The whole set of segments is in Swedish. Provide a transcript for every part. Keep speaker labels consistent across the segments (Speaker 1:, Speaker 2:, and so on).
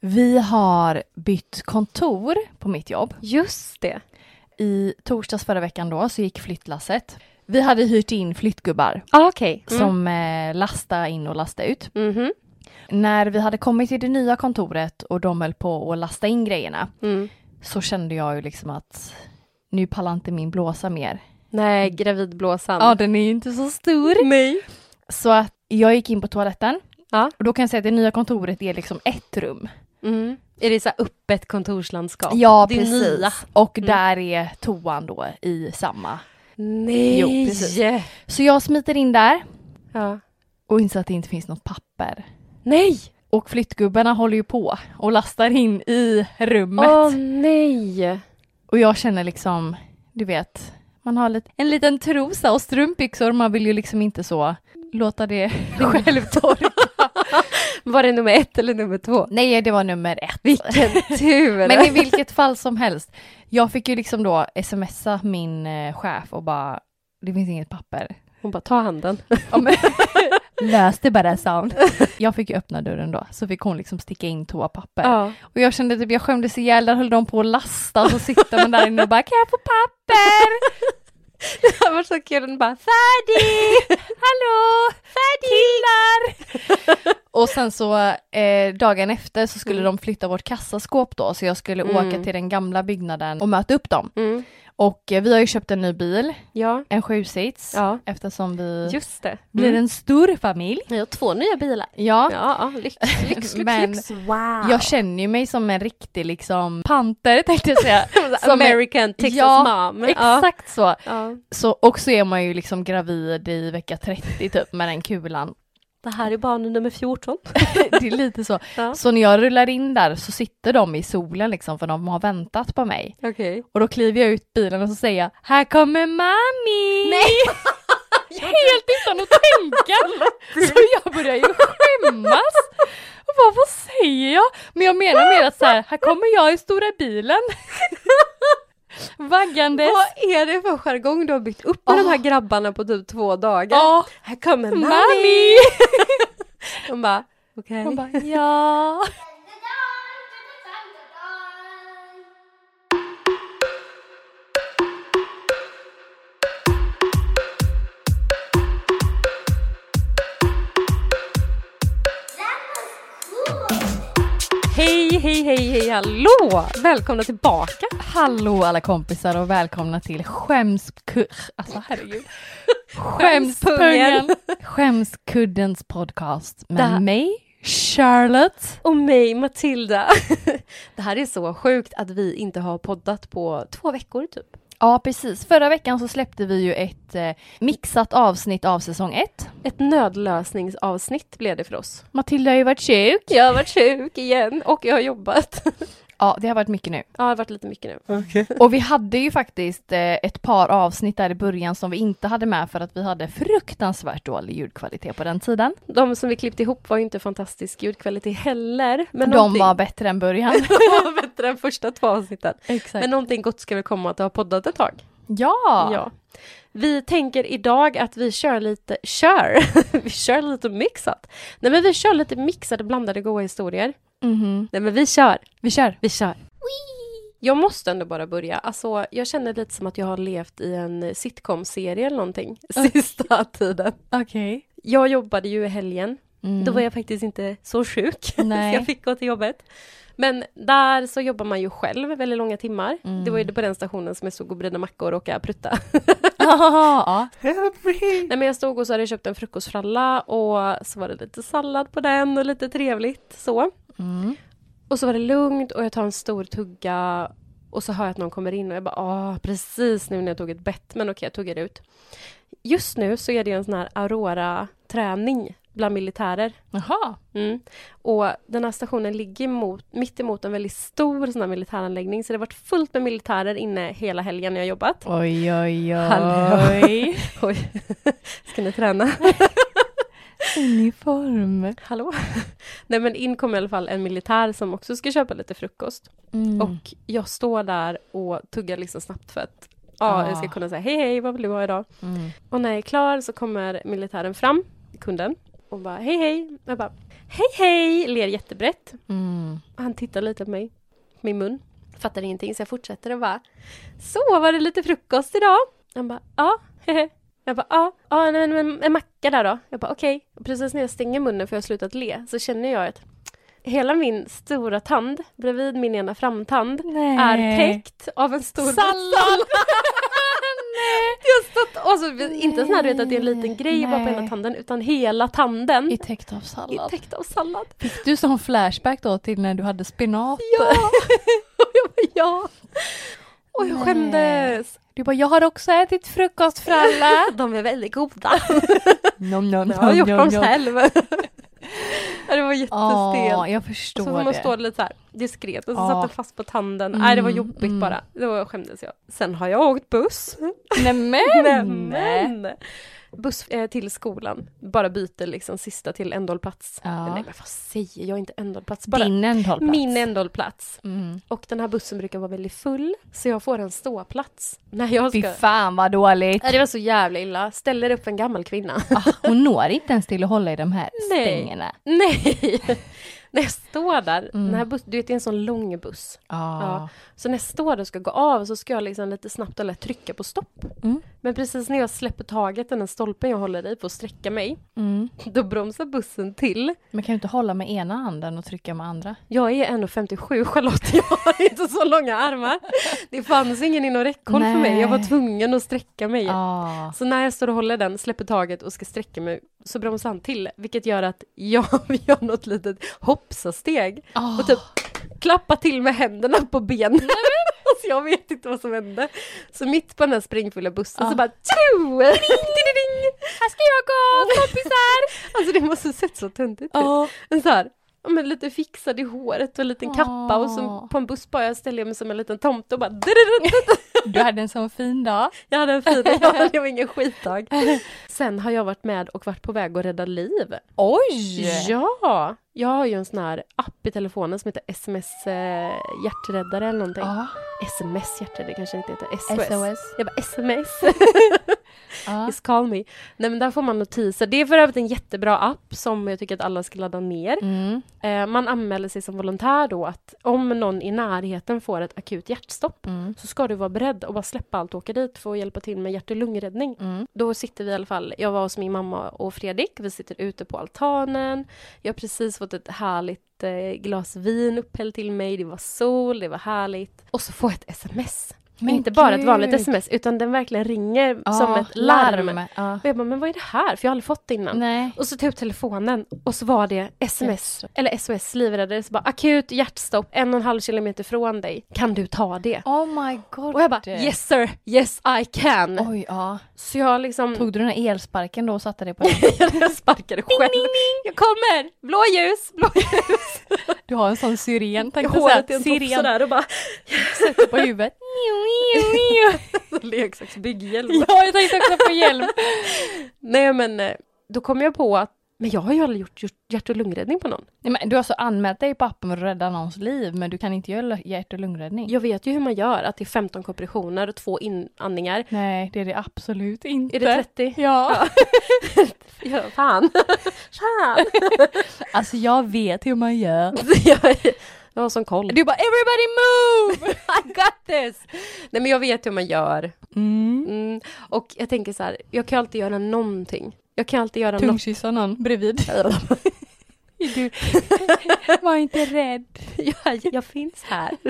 Speaker 1: Vi har bytt kontor på mitt jobb.
Speaker 2: Just det.
Speaker 1: I torsdags förra veckan då så gick flyttlasset. Vi hade hyrt in flyttgubbar
Speaker 2: Ah, Okej. Mm.
Speaker 1: som eh, lastade in och lastade ut.
Speaker 2: Mhm.
Speaker 1: När vi hade kommit till det nya kontoret och de höll på att lasta in grejerna
Speaker 2: Mm.
Speaker 1: så kände jag ju liksom att nu pallar inte min blåsa mer.
Speaker 2: Nej, gravidblåsan.
Speaker 1: Ja, den är ju inte så stor.
Speaker 2: Nej.
Speaker 1: Så att jag gick in på toaletten.
Speaker 2: Ja.
Speaker 1: Och då kan jag säga att det nya kontoret är liksom ett rum.
Speaker 2: Mm. Är det så här öppet kontorslandskap?
Speaker 1: Ja,
Speaker 2: det är Nya.
Speaker 1: Och
Speaker 2: Mm.
Speaker 1: där är toan då i samma.
Speaker 2: Nej!
Speaker 1: Jo, precis. Så jag smiter in där
Speaker 2: Ja.
Speaker 1: och inser att det inte finns något papper.
Speaker 2: Nej!
Speaker 1: Och flyttgubbarna håller ju på och lastar in i rummet.
Speaker 2: Åh nej!
Speaker 1: Och jag känner liksom, du vet, man har lite, en liten trosa och strumpbyxor, man vill ju liksom inte så låta det själv torka.
Speaker 2: Var det nummer ett eller nummer två?
Speaker 1: Nej, det var nummer ett.
Speaker 2: Vilken tur!
Speaker 1: Men i vilket fall som helst, jag fick ju liksom då smsa min eh, chef och bara, det finns inget papper.
Speaker 2: Hon bara, ta handen.
Speaker 1: Ja, men- Lös det bara sound. Jag fick ju öppna dörren då, så fick hon liksom sticka in toapapper.
Speaker 2: Ja.
Speaker 1: Och jag kände typ, jag skämdes ihjäl, där höll de på att lasta och så sitter man där inne och bara, kan jag få papper?
Speaker 2: Det här var så kul, hon bara, färdig!
Speaker 1: Hallå! Killar! och sen så eh, dagen efter så skulle de flytta vårt kassaskåp då så jag skulle åka
Speaker 2: Mm.
Speaker 1: till den gamla byggnaden och möta upp dem.
Speaker 2: Mm.
Speaker 1: Och eh, vi har ju köpt en ny bil,
Speaker 2: Ja.
Speaker 1: en sjusits,
Speaker 2: Ja.
Speaker 1: eftersom vi
Speaker 2: Just Mm. det.
Speaker 1: blir en stor familj.
Speaker 2: Jag har två nya bilar.
Speaker 1: Ja.
Speaker 2: Ja, lyx, lyx, lyx,
Speaker 1: Men-
Speaker 2: lyx. Wow!
Speaker 1: Jag känner ju mig som en riktig liksom panter tänkte jag säga.
Speaker 2: som American Texas
Speaker 1: Ja,
Speaker 2: mom.
Speaker 1: Exakt så.
Speaker 2: Ja.
Speaker 1: så. Och så är man ju liksom gravid i vecka 30 typ med den kulan.
Speaker 2: Det här är barn nummer 14.
Speaker 1: Det är lite så.
Speaker 2: Ja.
Speaker 1: Så när jag rullar in där så sitter de i solen liksom för de har väntat på mig.
Speaker 2: Okej.
Speaker 1: Och då kliver jag ut bilen och så säger jag Här kommer mami! Nej! Helt utan att tänka! Så jag börjar ju skämmas! Och bara, vad säger jag? Men jag menar mer att så här, här kommer jag i stora bilen. Vaggandes.
Speaker 2: Vad är det för jargong du har byggt upp med
Speaker 1: Ah.
Speaker 2: de här grabbarna på typ två dagar?
Speaker 1: Ja,
Speaker 2: Här kommer mamma!
Speaker 1: mami!
Speaker 2: Hon bara, okej.
Speaker 1: Hon bara, ja.
Speaker 2: Hej, hej, hej, hej, hallå! Välkomna tillbaka!
Speaker 1: Hallå alla kompisar och välkomna till skämsku... Alltså herregud. Skämspungen. Skämskuddens podcast med
Speaker 2: Det-
Speaker 1: mig, Charlotte.
Speaker 2: Och mig, Matilda. Det här är så sjukt att vi inte har poddat på två veckor typ.
Speaker 1: Ja precis, förra veckan så släppte vi ju ett eh, mixat avsnitt av säsong ett.
Speaker 2: Ett nödlösningsavsnitt blev det för oss.
Speaker 1: Matilda har ju varit sjuk.
Speaker 2: Jag har varit sjuk igen och jag har jobbat.
Speaker 1: Ja det har varit mycket nu.
Speaker 2: Ja, det har varit lite mycket nu.
Speaker 1: Och vi hade ju faktiskt eh, ett par avsnitt där i början som vi inte hade med för att vi hade fruktansvärt dålig ljudkvalitet på den tiden.
Speaker 2: De som vi klippte ihop var ju inte fantastisk ljudkvalitet heller. Men
Speaker 1: De
Speaker 2: någonting-
Speaker 1: var bättre än början.
Speaker 2: De var bättre än första två avsnitten.
Speaker 1: Exakt.
Speaker 2: Men någonting gott ska väl komma att ha poddat ett tag.
Speaker 1: ja.
Speaker 2: Vi tänker idag att vi kör lite, kör, vi kör lite mixat. Nej men vi kör lite mixade blandade goa historier.
Speaker 1: Mhm.
Speaker 2: Nej men vi kör,
Speaker 1: Vi kör.
Speaker 2: vi kör. Jag måste ändå bara börja, alltså jag känner lite som att jag har levt i en sitcom-serie eller någonting sista tiden.
Speaker 1: Okej.
Speaker 2: Jag jobbade ju i helgen
Speaker 1: Mm.
Speaker 2: Då var jag faktiskt inte så sjuk,
Speaker 1: Nej.
Speaker 2: så jag fick gå till jobbet. Men där så jobbar man ju själv väldigt långa timmar.
Speaker 1: Mm.
Speaker 2: Det var ju på den stationen som jag stod och bredde mackor och åka prutta.
Speaker 1: ja.
Speaker 2: Nej men jag stod och så hade jag köpt en frukostfralla och så var det lite sallad på den och lite trevligt så.
Speaker 1: Mm.
Speaker 2: Och så var det lugnt och jag tar en stor tugga och så hör jag att någon kommer in och jag bara ah, precis nu när jag tog ett bett, men okej jag tuggar ut. Just nu så är det ju en sån här Aurora-träning bland militärer.
Speaker 1: Jaha.
Speaker 2: Mm. Och den här stationen ligger mot, mitt emot en väldigt stor sån här militäranläggning, så det har varit fullt med militärer inne hela helgen när jag har jobbat.
Speaker 1: Oj, oj,
Speaker 2: Hallå. Oj, ska ni träna?
Speaker 1: Uniform.
Speaker 2: Hallå? Nej men in kom i alla fall en militär som också ska köpa lite frukost.
Speaker 1: Mm.
Speaker 2: Och jag står där och tuggar liksom snabbt för att ja,
Speaker 1: Ah.
Speaker 2: jag ska kunna säga hej hej, vad vill du ha idag?
Speaker 1: Mm.
Speaker 2: Och när jag är klar så kommer militären fram, kunden, och bara hej hej. Jag bara, Hej hej! Ler jättebrett.
Speaker 1: Mm.
Speaker 2: Och han tittar lite på mig, på min mun. Fattar ingenting så jag fortsätter och bara Så var det lite frukost idag? Han bara ja, hehe. Jag bara ja, ja men, men en macka där då? Jag bara okej. Och Precis när jag stänger munnen för jag har slutat le så känner jag att hela min stora tand bredvid min ena framtand
Speaker 1: Nej.
Speaker 2: är täckt av en stor
Speaker 1: Sallad! Nej.
Speaker 2: Just att, alltså, inte sån här du vet att det är en liten grej bara på
Speaker 1: Nej.
Speaker 2: ena tanden utan hela tanden
Speaker 1: I
Speaker 2: är
Speaker 1: täckt av sallad.
Speaker 2: täckt av sallad.
Speaker 1: Fick du sån flashback då till när du hade spenat?
Speaker 2: Ja! och jag bara ja. Och jag
Speaker 1: Nej.
Speaker 2: skämdes. Äh,
Speaker 1: Du bara, jag har också ätit frukost för alla.
Speaker 2: De är väldigt goda.
Speaker 1: nom, nom,
Speaker 2: Jag har gjort dem själv. Ja, det var
Speaker 1: Ja,
Speaker 2: jättestelt.
Speaker 1: jag
Speaker 2: Så
Speaker 1: förstår
Speaker 2: får man
Speaker 1: det.
Speaker 2: stå lite så här diskret och så
Speaker 1: Ja.
Speaker 2: satt den fast på tanden. Nej, det var
Speaker 1: Mm,
Speaker 2: jobbigt
Speaker 1: mm.
Speaker 2: bara. Då skämdes jag. Sen har jag åkt buss.
Speaker 1: Nämen!
Speaker 2: Nämen! Buss eh, till skolan. Bara byter liksom sista till ändhållplats.
Speaker 1: Ja.
Speaker 2: Nej men vad säger jag? Inte ändhållplats. Bara
Speaker 1: Din ändhållplats.
Speaker 2: min ändhållplats.
Speaker 1: Mm.
Speaker 2: Och den här bussen brukar vara väldigt full. Så jag får en ståplats. När jag
Speaker 1: Fy
Speaker 2: ska...
Speaker 1: fan vad dåligt.
Speaker 2: Nej, det var så jävla illa. Ställer upp en gammal kvinna.
Speaker 1: Ah, hon når inte ens till att hålla i de här
Speaker 2: Nej.
Speaker 1: stängerna.
Speaker 2: Nej! när jag står där.
Speaker 1: Mm. Ah.
Speaker 2: Den här buss, du vet det är en sån lång buss.
Speaker 1: Ja.
Speaker 2: Ja. Så när jag står där och ska gå av så ska jag liksom lite snabbt och lätt trycka på stopp.
Speaker 1: Mm.
Speaker 2: Men precis när jag släpper taget i den stolpen jag håller i på att sträcka mig.
Speaker 1: Mm.
Speaker 2: Då bromsar bussen till.
Speaker 1: Men kan du inte hålla med ena handen och trycka med andra?
Speaker 2: Jag är 1,57 Charlotte, jag har inte så långa armar. Det fanns ingen inom räckhåll för mig, jag var
Speaker 1: Nej. Ah.
Speaker 2: tvungen att sträcka mig.
Speaker 1: Ja.
Speaker 2: Så när jag står och håller den, släpper taget och ska sträcka mig så bromsar han till, vilket gör att jag gör något litet hoppsasteg
Speaker 1: Ah.
Speaker 2: och typ klappar till med händerna på benen. Alltså jag vet inte vad som hände. Så mitt på den här springfulla bussen
Speaker 1: Ja.
Speaker 2: så bara tjo! Här ska jag gå kompisar! Ah. alltså det måste sett så töntigt ut.
Speaker 1: Ja.
Speaker 2: En så här, ja, men lite fixad i håret och en liten
Speaker 1: Åh.
Speaker 2: kappa och så på en buss bara jag ställde mig som en liten tomte och bara drrrr.
Speaker 1: Du hade en sån fin dag.
Speaker 2: Jag hade en fin dag, det var ingen skitdag. Sen har jag varit med och varit på väg att rädda liv.
Speaker 1: Oj!
Speaker 2: Ja! Jag har ju en sån här app i telefonen som heter sms eh, hjärträddare eller någonting.
Speaker 1: Ja.
Speaker 2: Sms hjärträddare kanske det inte heter, SOS.
Speaker 1: SOS.
Speaker 2: Jag bara sms,
Speaker 1: Ja.
Speaker 2: just call me. Nej men där får man notiser. Det är för övrigt en jättebra app som jag tycker att alla ska ladda ner.
Speaker 1: Mm.
Speaker 2: Eh, man anmäler sig som volontär då att om någon i närheten får ett akut hjärtstopp
Speaker 1: Mm.
Speaker 2: så ska du vara beredd och bara släppa allt och åka dit för att hjälpa till med hjärt och lungräddning.
Speaker 1: Mm.
Speaker 2: Då sitter vi i alla fall, jag var hos min mamma och Fredrik, vi sitter ute på altanen. Jag har precis fått ett härligt eh, glas vin upphällt till mig, det var sol, det var härligt. Och så får jag ett sms. Men
Speaker 1: Men
Speaker 2: inte bara ett
Speaker 1: gud. Ah,
Speaker 2: vanligt sms, utan den verkligen ringer
Speaker 1: Ja,
Speaker 2: som ett larm.
Speaker 1: Ja.
Speaker 2: Och jag bara, men vad är det här? För jag har aldrig fått det innan.
Speaker 1: Ah. Nej.
Speaker 2: Och så tar jag upp telefonen och så var det sms,
Speaker 1: Yes.
Speaker 2: eller SOS livräddare, så bara akut hjärtstopp, en och en halv kilometer från dig. Kan du ta det?
Speaker 1: Oh my god.
Speaker 2: Och jag bara yes sir, yes I can.
Speaker 1: Oj, ja.
Speaker 2: Så jag liksom,
Speaker 1: Tog du den här elsparken då och satte dig på den?
Speaker 2: jag sparkade själv. Jag kommer! Blå ljus, blå ljus.
Speaker 1: Du har en sån syren,
Speaker 2: Jag
Speaker 1: tänkte
Speaker 2: håret i
Speaker 1: säga.
Speaker 2: en topp
Speaker 1: Syren
Speaker 2: sådär och bara,
Speaker 1: sätter på huvudet.
Speaker 2: leksaksbygghjälm.
Speaker 1: ja, jag tänkte också på hjälm.
Speaker 2: Nej men, eh, då kom jag på att, men jag har ju aldrig gjort, gjort hjärt och lungräddning på någon.
Speaker 1: Nej, men du har alltså anmält dig på appen för att rädda någons liv, men du kan inte göra hjärt och lungräddning?
Speaker 2: Jag vet ju hur man gör, att det är 15 kompressioner och två inandningar.
Speaker 1: Nej, det är det absolut inte.
Speaker 2: Är det 30?
Speaker 1: Ja.
Speaker 2: Ja, fan. fan.
Speaker 1: Alltså jag vet hur man gör.
Speaker 2: jag, jag har sån koll.
Speaker 1: Du bara “Everybody move!”
Speaker 2: I got this! Nej men jag vet hur man gör.
Speaker 1: mm.
Speaker 2: Mm. Och jag tänker så här, jag kan ju alltid göra någonting. Jag kan alltid göra något.
Speaker 1: Tungkyssa någon bredvid. Du, var inte rädd.
Speaker 2: jag, jag finns här.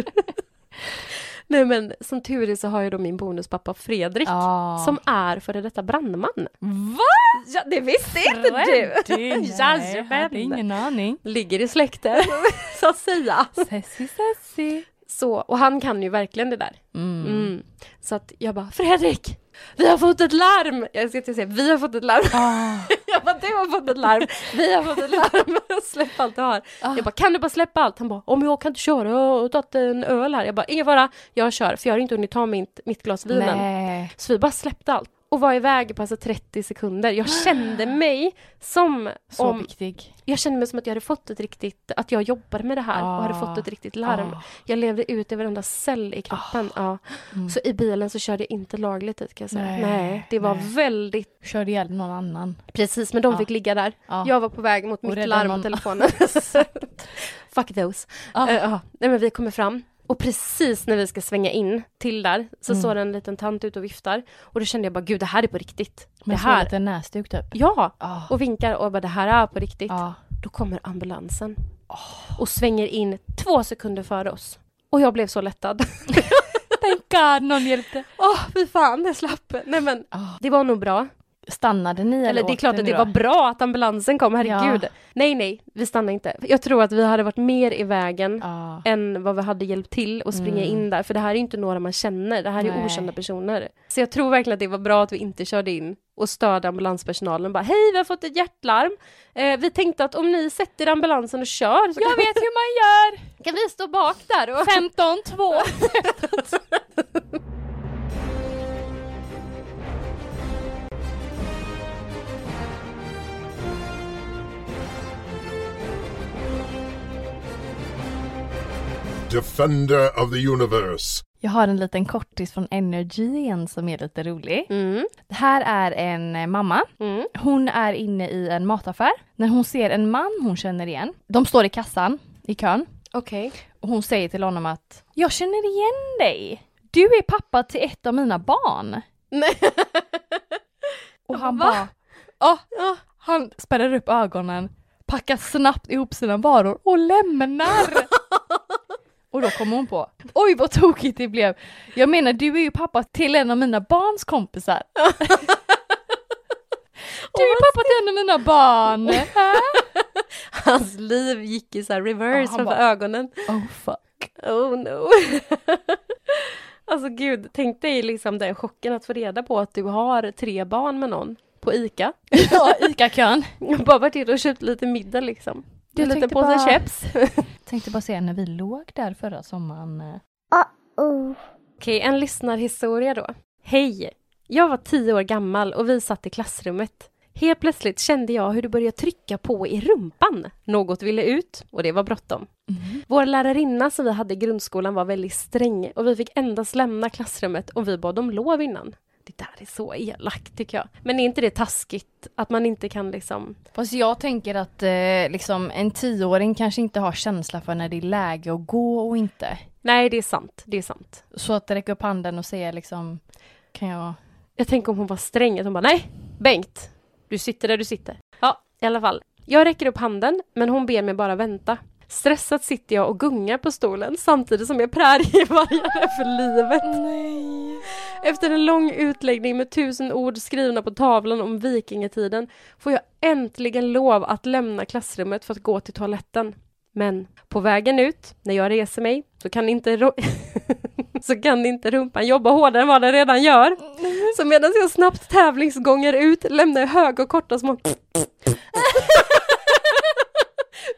Speaker 2: Nej men som tur är så har jag då min bonuspappa Fredrik.
Speaker 1: Ja.
Speaker 2: Som är före detta brandman.
Speaker 1: Va?
Speaker 2: Ja, det visste inte
Speaker 1: Nej, jag hade ingen aning.
Speaker 2: Ligger i släkten, så att säga.
Speaker 1: Sessi, sessi.
Speaker 2: Så, och han kan ju verkligen det där.
Speaker 1: Mm.
Speaker 2: Mm. Så att jag bara, Fredrik! Vi har fått ett larm! Jag ska inte säga, vi har fått ett larm.
Speaker 1: Ah.
Speaker 2: Jag bara, du har fått ett larm. Vi har fått ett larm. Släpp allt du har.
Speaker 1: Ah.
Speaker 2: Jag bara, kan du bara släppa allt? Han bara, om jag kan inte köra, jag har tagit en öl här. Jag bara, ingen fara, jag kör. För jag har inte hunnit ta mitt, mitt glas vin än.
Speaker 1: Nej.
Speaker 2: Så vi bara släppte allt. och var iväg på alltså 30 sekunder. Jag kände mig som
Speaker 1: Så
Speaker 2: om...
Speaker 1: viktig.
Speaker 2: Jag kände mig som att jag hade fått ett riktigt... Att jag jobbar med det här och hade
Speaker 1: Ah.
Speaker 2: fått ett riktigt larm.
Speaker 1: Ah.
Speaker 2: Jag levde ut i varenda cell i kroppen. Ja.
Speaker 1: Mm.
Speaker 2: Så i bilen så körde jag inte lagligt dit kan jag säga. Nej,
Speaker 1: Nej,
Speaker 2: det var
Speaker 1: nej. Ah.
Speaker 2: väldigt...
Speaker 1: Körde ihjäl någon annan.
Speaker 2: Precis, men de
Speaker 1: Ja.
Speaker 2: fick ligga där.
Speaker 1: Ja.
Speaker 2: Jag var på väg mot
Speaker 1: Och
Speaker 2: mitt
Speaker 1: rädda
Speaker 2: larm
Speaker 1: någon.
Speaker 2: på telefonen. Fuck those.
Speaker 1: Ja.
Speaker 2: Eh, ja. Nej, men vi kommer fram. Och precis när vi ska svänga in till där så
Speaker 1: Mm.
Speaker 2: står det en liten tant ute och viftar. Och då kände jag bara, gud det här är på riktigt.
Speaker 1: Men
Speaker 2: det
Speaker 1: det här.
Speaker 2: här.
Speaker 1: lite näsduk typ. Ah.
Speaker 2: Ja!
Speaker 1: Ja.
Speaker 2: Och vinkar och jag bara, det här är på riktigt.
Speaker 1: Ja.
Speaker 2: Då kommer ambulansen. Och svänger in två sekunder före oss. Och jag blev så lättad.
Speaker 1: Thank God någon hjälpte.
Speaker 2: Åh, fy fan, jag slapp. Nej men, det var nog bra.
Speaker 1: Stannade ni eller
Speaker 2: Eller det är
Speaker 1: åkte
Speaker 2: klart
Speaker 1: ni
Speaker 2: att det
Speaker 1: då?
Speaker 2: var bra att ambulansen kom, herregud.
Speaker 1: Ja.
Speaker 2: Nej, nej, vi stannade inte. Jag tror att vi hade varit mer i vägen
Speaker 1: Ja.
Speaker 2: än vad vi hade hjälpt till att springa
Speaker 1: Mm.
Speaker 2: in där. För det här är ju inte några man känner, det här är ju
Speaker 1: Nej.
Speaker 2: okända personer. Så jag tror verkligen att det var bra att vi inte körde in och störde ambulanspersonalen. Bara, hej, vi har fått ett hjärtlarm. Eh, vi tänkte att om ni sätter ambulansen och kör så
Speaker 1: Jag vet hur man gör!
Speaker 2: kan vi stå bak där. Och...
Speaker 1: 15-2.
Speaker 3: Defender of the Universe.
Speaker 1: Jag har en liten kortis från Energy igen som är lite rolig.
Speaker 2: Mm.
Speaker 1: Det här är en eh, mamma.
Speaker 2: Mm.
Speaker 1: Hon är inne i en mataffär. När hon ser en man hon känner igen. De står i kassan i kön.
Speaker 2: Okej.
Speaker 1: Och hon säger till honom att jag känner igen dig. Du är pappa till ett av mina barn.
Speaker 2: Nej.
Speaker 1: Och han
Speaker 2: Va?
Speaker 1: bara... Ja, han spärrar upp ögonen, packar snabbt ihop sina varor och lämnar. och då kommer hon på, oj vad tokigt det blev. Jag menar du är ju pappa till en av mina barns kompisar. Du är pappa till en av mina barn!
Speaker 2: Hans liv gick i så här reverse
Speaker 1: Ja, han
Speaker 2: framför
Speaker 1: bara-
Speaker 2: ögonen.
Speaker 1: Oh fuck.
Speaker 2: Oh no. alltså gud, tänk dig liksom den chocken att få reda på att du har tre barn med någon på ICA.
Speaker 1: Ja, ICA-kön.
Speaker 2: Jag har bara varit inne och köpt lite middag liksom.
Speaker 1: Jag
Speaker 2: en liten
Speaker 1: tänkte
Speaker 2: påse
Speaker 1: bara-
Speaker 2: keps.
Speaker 1: Tänkte bara säga när vi låg där förra sommaren. eh,
Speaker 2: Okej, en lyssnarhistoria då. Hej! Jag var tio år gammal och vi satt i klassrummet. Helt plötsligt kände jag hur det började trycka på i rumpan. Något ville ut och det var bråttom. Vår lärarinna som vi hade i grundskolan var väldigt sträng och vi fick endast lämna klassrummet om vi bad om lov innan. Det där är så elakt tycker jag. Men är inte det taskigt? Att man inte kan liksom...
Speaker 1: Fast jag tänker att eh, liksom, en tioåring kanske inte har känsla för när det är läge att gå och inte.
Speaker 2: Nej, det är sant. Det är sant.
Speaker 1: Så att räcka upp handen och säga liksom, kan jag...
Speaker 2: Jag tänker om hon var sträng, att hon bara nej, Bengt, du sitter där du sitter. Ja, i alla fall. Jag räcker upp handen, men hon ber mig bara vänta. Stressat sitter jag och gungar på stolen samtidigt som jag prärievargar för livet.
Speaker 1: Nej.
Speaker 2: Efter en lång utläggning med tusen ord skrivna på tavlan om vikingatiden får jag äntligen lov att lämna klassrummet för att gå till toaletten. Men på vägen ut, när jag reser mig, så kan inte, ro- så kan inte rumpan jobba hårdare än vad den redan gör. Så medan jag snabbt tävlingsgångar ut lämnar jag höga och korta små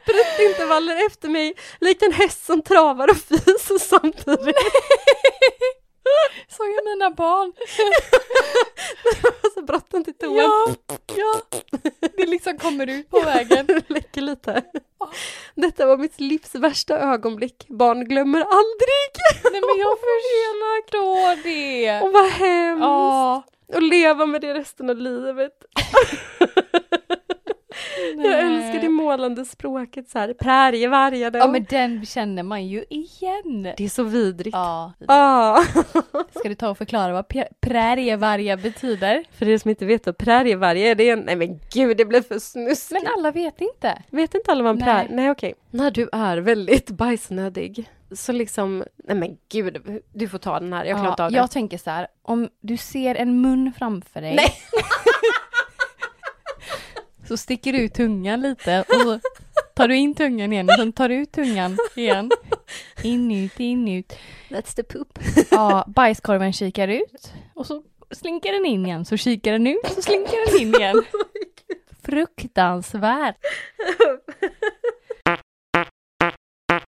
Speaker 2: Pruttintervaller efter mig, likt en häst som travar och fiser samtidigt.
Speaker 1: Såg jag mina barn?
Speaker 2: Alltså bråttom till toan.
Speaker 1: Ja, ja. Det liksom kommer ut på vägen.
Speaker 2: läcker lite. Detta var mitt livs värsta ögonblick. Barn glömmer aldrig.
Speaker 1: Nej men jag förstår det.
Speaker 2: Och vad hemskt.
Speaker 1: Ja.
Speaker 2: Och leva med det resten av livet. Jag älskar det målande språket så här. Prärievargar.
Speaker 1: Ja men den känner man ju igen.
Speaker 2: Det är så vidrigt.
Speaker 1: Ja.
Speaker 2: Ah.
Speaker 1: Ska du ta och förklara vad pr- prärievargar betyder?
Speaker 2: För er som inte vet vad prärievargar är, det är en... Nej men gud, det blev för snuskigt.
Speaker 1: Men alla vet inte.
Speaker 2: Vet inte alla vad en
Speaker 1: Nej.
Speaker 2: prär... Nej, okej. När du är väldigt bajsnödig, så liksom... Nej men gud, du får ta den här, jag klarar inte
Speaker 1: ja,
Speaker 2: av den.
Speaker 1: jag tänker så här, om du ser en mun framför dig.
Speaker 2: Nej.
Speaker 1: så sticker du ut tungan lite och så tar du in tungan igen och sen tar du ut tungan igen. In ut, in ut.
Speaker 2: That's the poop.
Speaker 1: Ja, bajskorven kikar ut och så slinker den in igen, så kikar den ut, så slinker den in igen. Fruktansvärt.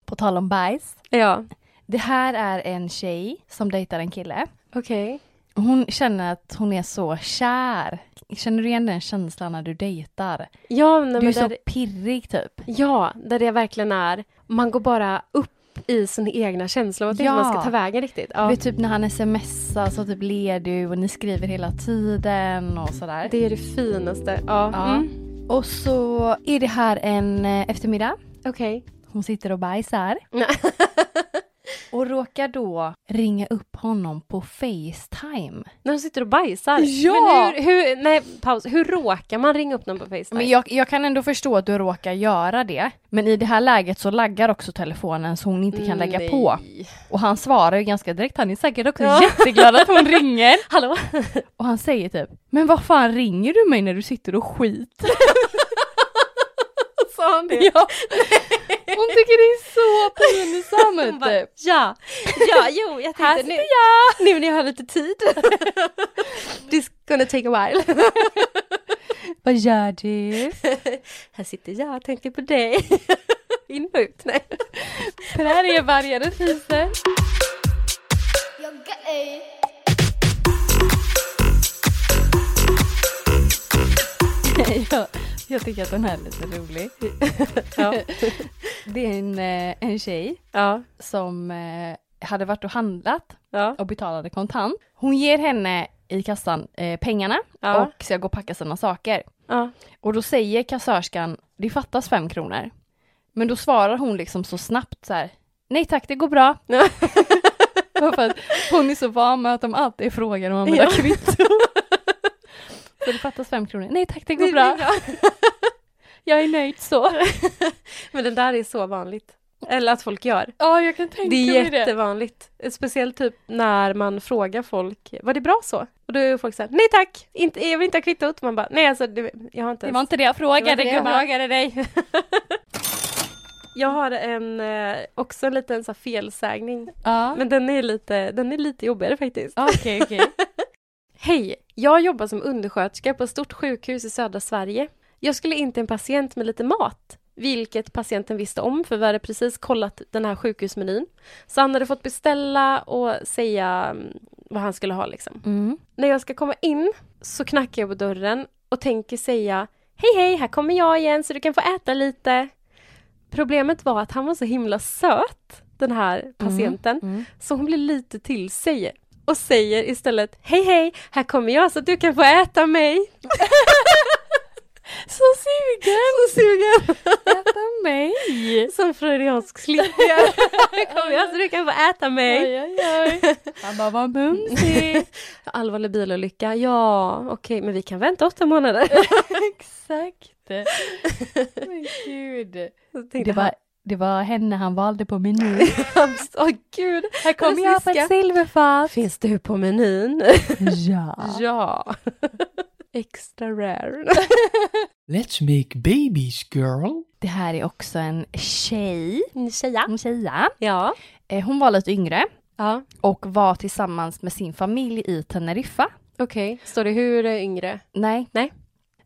Speaker 1: På tal om bajs.
Speaker 2: Ja.
Speaker 1: Det här är en tjej som dejtar en kille.
Speaker 2: Okej.
Speaker 1: Hon känner att hon är så kär. Känner du igen den känslan när du dejtar?
Speaker 2: Ja, nej,
Speaker 1: du är
Speaker 2: men
Speaker 1: så
Speaker 2: där,
Speaker 1: pirrig typ.
Speaker 2: ja, där det verkligen är, man går bara upp i sina egna känslor, och vet inte
Speaker 1: Ja.
Speaker 2: vart man ska ta vägen riktigt.
Speaker 1: Du
Speaker 2: Ja.
Speaker 1: vet typ när han smsar så typ ler du och ni skriver hela tiden och sådär.
Speaker 2: Det är det finaste. Ja.
Speaker 1: Ja.
Speaker 2: Mm.
Speaker 1: Och så är det här en eh, eftermiddag.
Speaker 2: Okej.
Speaker 1: Hon sitter och bajsar. Och råkar då ringa upp honom på Facetime.
Speaker 2: När de sitter och bajsar.
Speaker 1: Ja!
Speaker 2: Men hur, hur, nej, paus. Hur råkar man ringa upp någon på Facetime?
Speaker 1: Men jag, jag kan ändå förstå att du råkar göra det. Men i det här läget så laggar också telefonen så hon inte kan lägga
Speaker 2: Mm, Nej.
Speaker 1: på. Och han svarar ju ganska direkt. Han är säkert också
Speaker 2: Ja.
Speaker 1: jätteglad att hon ringer.
Speaker 2: Hallå?
Speaker 1: Och han säger typ Men vad fan ringer du mig när du sitter och skiter?
Speaker 2: Sa han det?
Speaker 1: Ja. Hon tycker det är så
Speaker 2: Hon
Speaker 1: pinsamt
Speaker 2: bara,
Speaker 1: typ.
Speaker 2: ja, ja, jo, jag
Speaker 1: Här
Speaker 2: tänkte nu,
Speaker 1: sitter jag!
Speaker 2: nu när jag har lite tid. This gonna take a while.
Speaker 1: Vad gör du?
Speaker 2: Här sitter jag och tänker på dig. In och ut. Nej.
Speaker 1: Det här är varje teaser.
Speaker 3: You're gay.
Speaker 1: jag, jag tycker att den här är lite rolig.
Speaker 2: Ja.
Speaker 1: Det är en, eh, en tjej
Speaker 2: Ja.
Speaker 1: som eh, hade varit och handlat
Speaker 2: Ja.
Speaker 1: och betalade kontant. Hon ger henne i kassan eh, pengarna
Speaker 2: Ja.
Speaker 1: och ska gå och packa sina saker.
Speaker 2: Ja.
Speaker 1: Och då säger kassörskan, det fattas fem kronor. Men då svarar hon liksom så snabbt så här, nej tack det går bra.
Speaker 2: Ja.
Speaker 1: Bara för att hon är så van med att de alltid frågar om man vill
Speaker 2: Ja.
Speaker 1: ha kvitto. Så det fattas fem kronor, nej tack det går bra. Jag är nöjd så.
Speaker 2: Men den där är så vanligt. Eller att folk gör.
Speaker 1: Ja, jag kan tänka
Speaker 2: Det
Speaker 1: mig
Speaker 2: är
Speaker 1: det.
Speaker 2: jättevanligt. Speciellt typ när man frågar folk, var det bra så? Och då är folk såhär, nej tack, inte, jag vill inte ha kvittot. Man bara, nej alltså, det, jag har inte
Speaker 1: Det
Speaker 2: ens
Speaker 1: var inte det jag
Speaker 2: Jag
Speaker 1: frågade gumman.
Speaker 2: frågade dig. Jag har en, eh, också en liten så här, felsägning,
Speaker 1: Ja,
Speaker 2: men den är, lite, den är lite jobbigare faktiskt.
Speaker 1: Ja, Ah, okej okej.
Speaker 2: Hej! Jag jobbar som undersköterska på ett stort sjukhus i södra Sverige. Jag skulle in till en patient med lite mat, vilket patienten visste om för vi hade precis kollat den här sjukhusmenyn. Så han hade fått beställa och säga mm, vad han skulle ha liksom.
Speaker 1: Mm.
Speaker 2: När jag ska komma in så knackar jag på dörren och tänker säga Hej hej, här kommer jag igen så du kan få äta lite. Problemet var att han var så himla söt, den här patienten,
Speaker 1: mm.
Speaker 2: så hon blev lite till sig och säger istället Hej hej, här kommer jag så att du kan få äta mig.
Speaker 1: Så sugen!
Speaker 2: Så sugen!
Speaker 1: Äta mig!
Speaker 2: Som freudiansk slickare. Här kommer jag så du kan få äta mig.
Speaker 1: Oj, oj, oj. Han bara, vad mumsig!
Speaker 2: Allvarlig bilolycka, ja okej men vi kan vänta åtta månader.
Speaker 1: Exakt! Men gud.
Speaker 2: Så tänkte
Speaker 1: Det var, det var henne han valde på menyn.
Speaker 2: han, åh gud.
Speaker 1: Här kommer jag på
Speaker 2: Sniska.
Speaker 1: ett silverfat!
Speaker 2: Finns du på menyn?
Speaker 1: Ja.
Speaker 2: Ja. Extra rare.
Speaker 4: Let's make babies, girl.
Speaker 1: Det här är också en tjej.
Speaker 2: Tjeja.
Speaker 1: En tjeja.
Speaker 2: Ja.
Speaker 1: Eh, Hon var lite yngre
Speaker 2: Ja.
Speaker 1: och var tillsammans med sin familj i Teneriffa.
Speaker 2: Okej. Står det hur eh, yngre?
Speaker 1: Nej.
Speaker 2: Nej.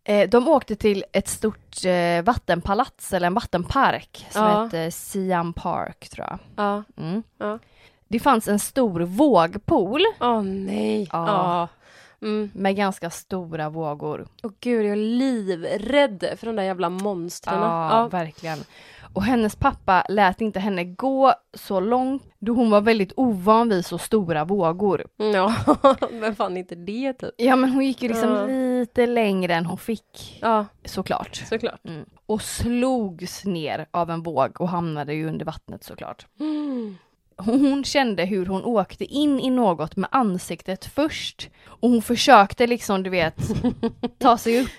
Speaker 1: Eh, de åkte till ett stort eh, vattenpalats eller en vattenpark som
Speaker 2: Ja.
Speaker 1: hette Siam Park tror jag.
Speaker 2: Ja.
Speaker 1: Mm.
Speaker 2: Ja.
Speaker 1: Det fanns en stor vågpool
Speaker 2: Åh nej.
Speaker 1: Ja.
Speaker 2: Ja. Mm.
Speaker 1: med ganska stora vågor.
Speaker 2: Och gud, jag är livrädd för de där jävla monstren.
Speaker 1: Ja, verkligen. Och hennes pappa lät inte henne gå så långt då hon var väldigt ovan vid så stora vågor.
Speaker 2: Mm, ja. Men fan inte det typ.
Speaker 1: Ja men hon gick ju liksom
Speaker 2: Ja.
Speaker 1: lite längre än hon fick
Speaker 2: Ja,
Speaker 1: såklart.
Speaker 2: såklart.
Speaker 1: Mm. Och slogs ner av en våg och hamnade ju under vattnet såklart. Hon hon kände hur hon åkte in i något med ansiktet först och hon försökte liksom, du vet, ta sig upp.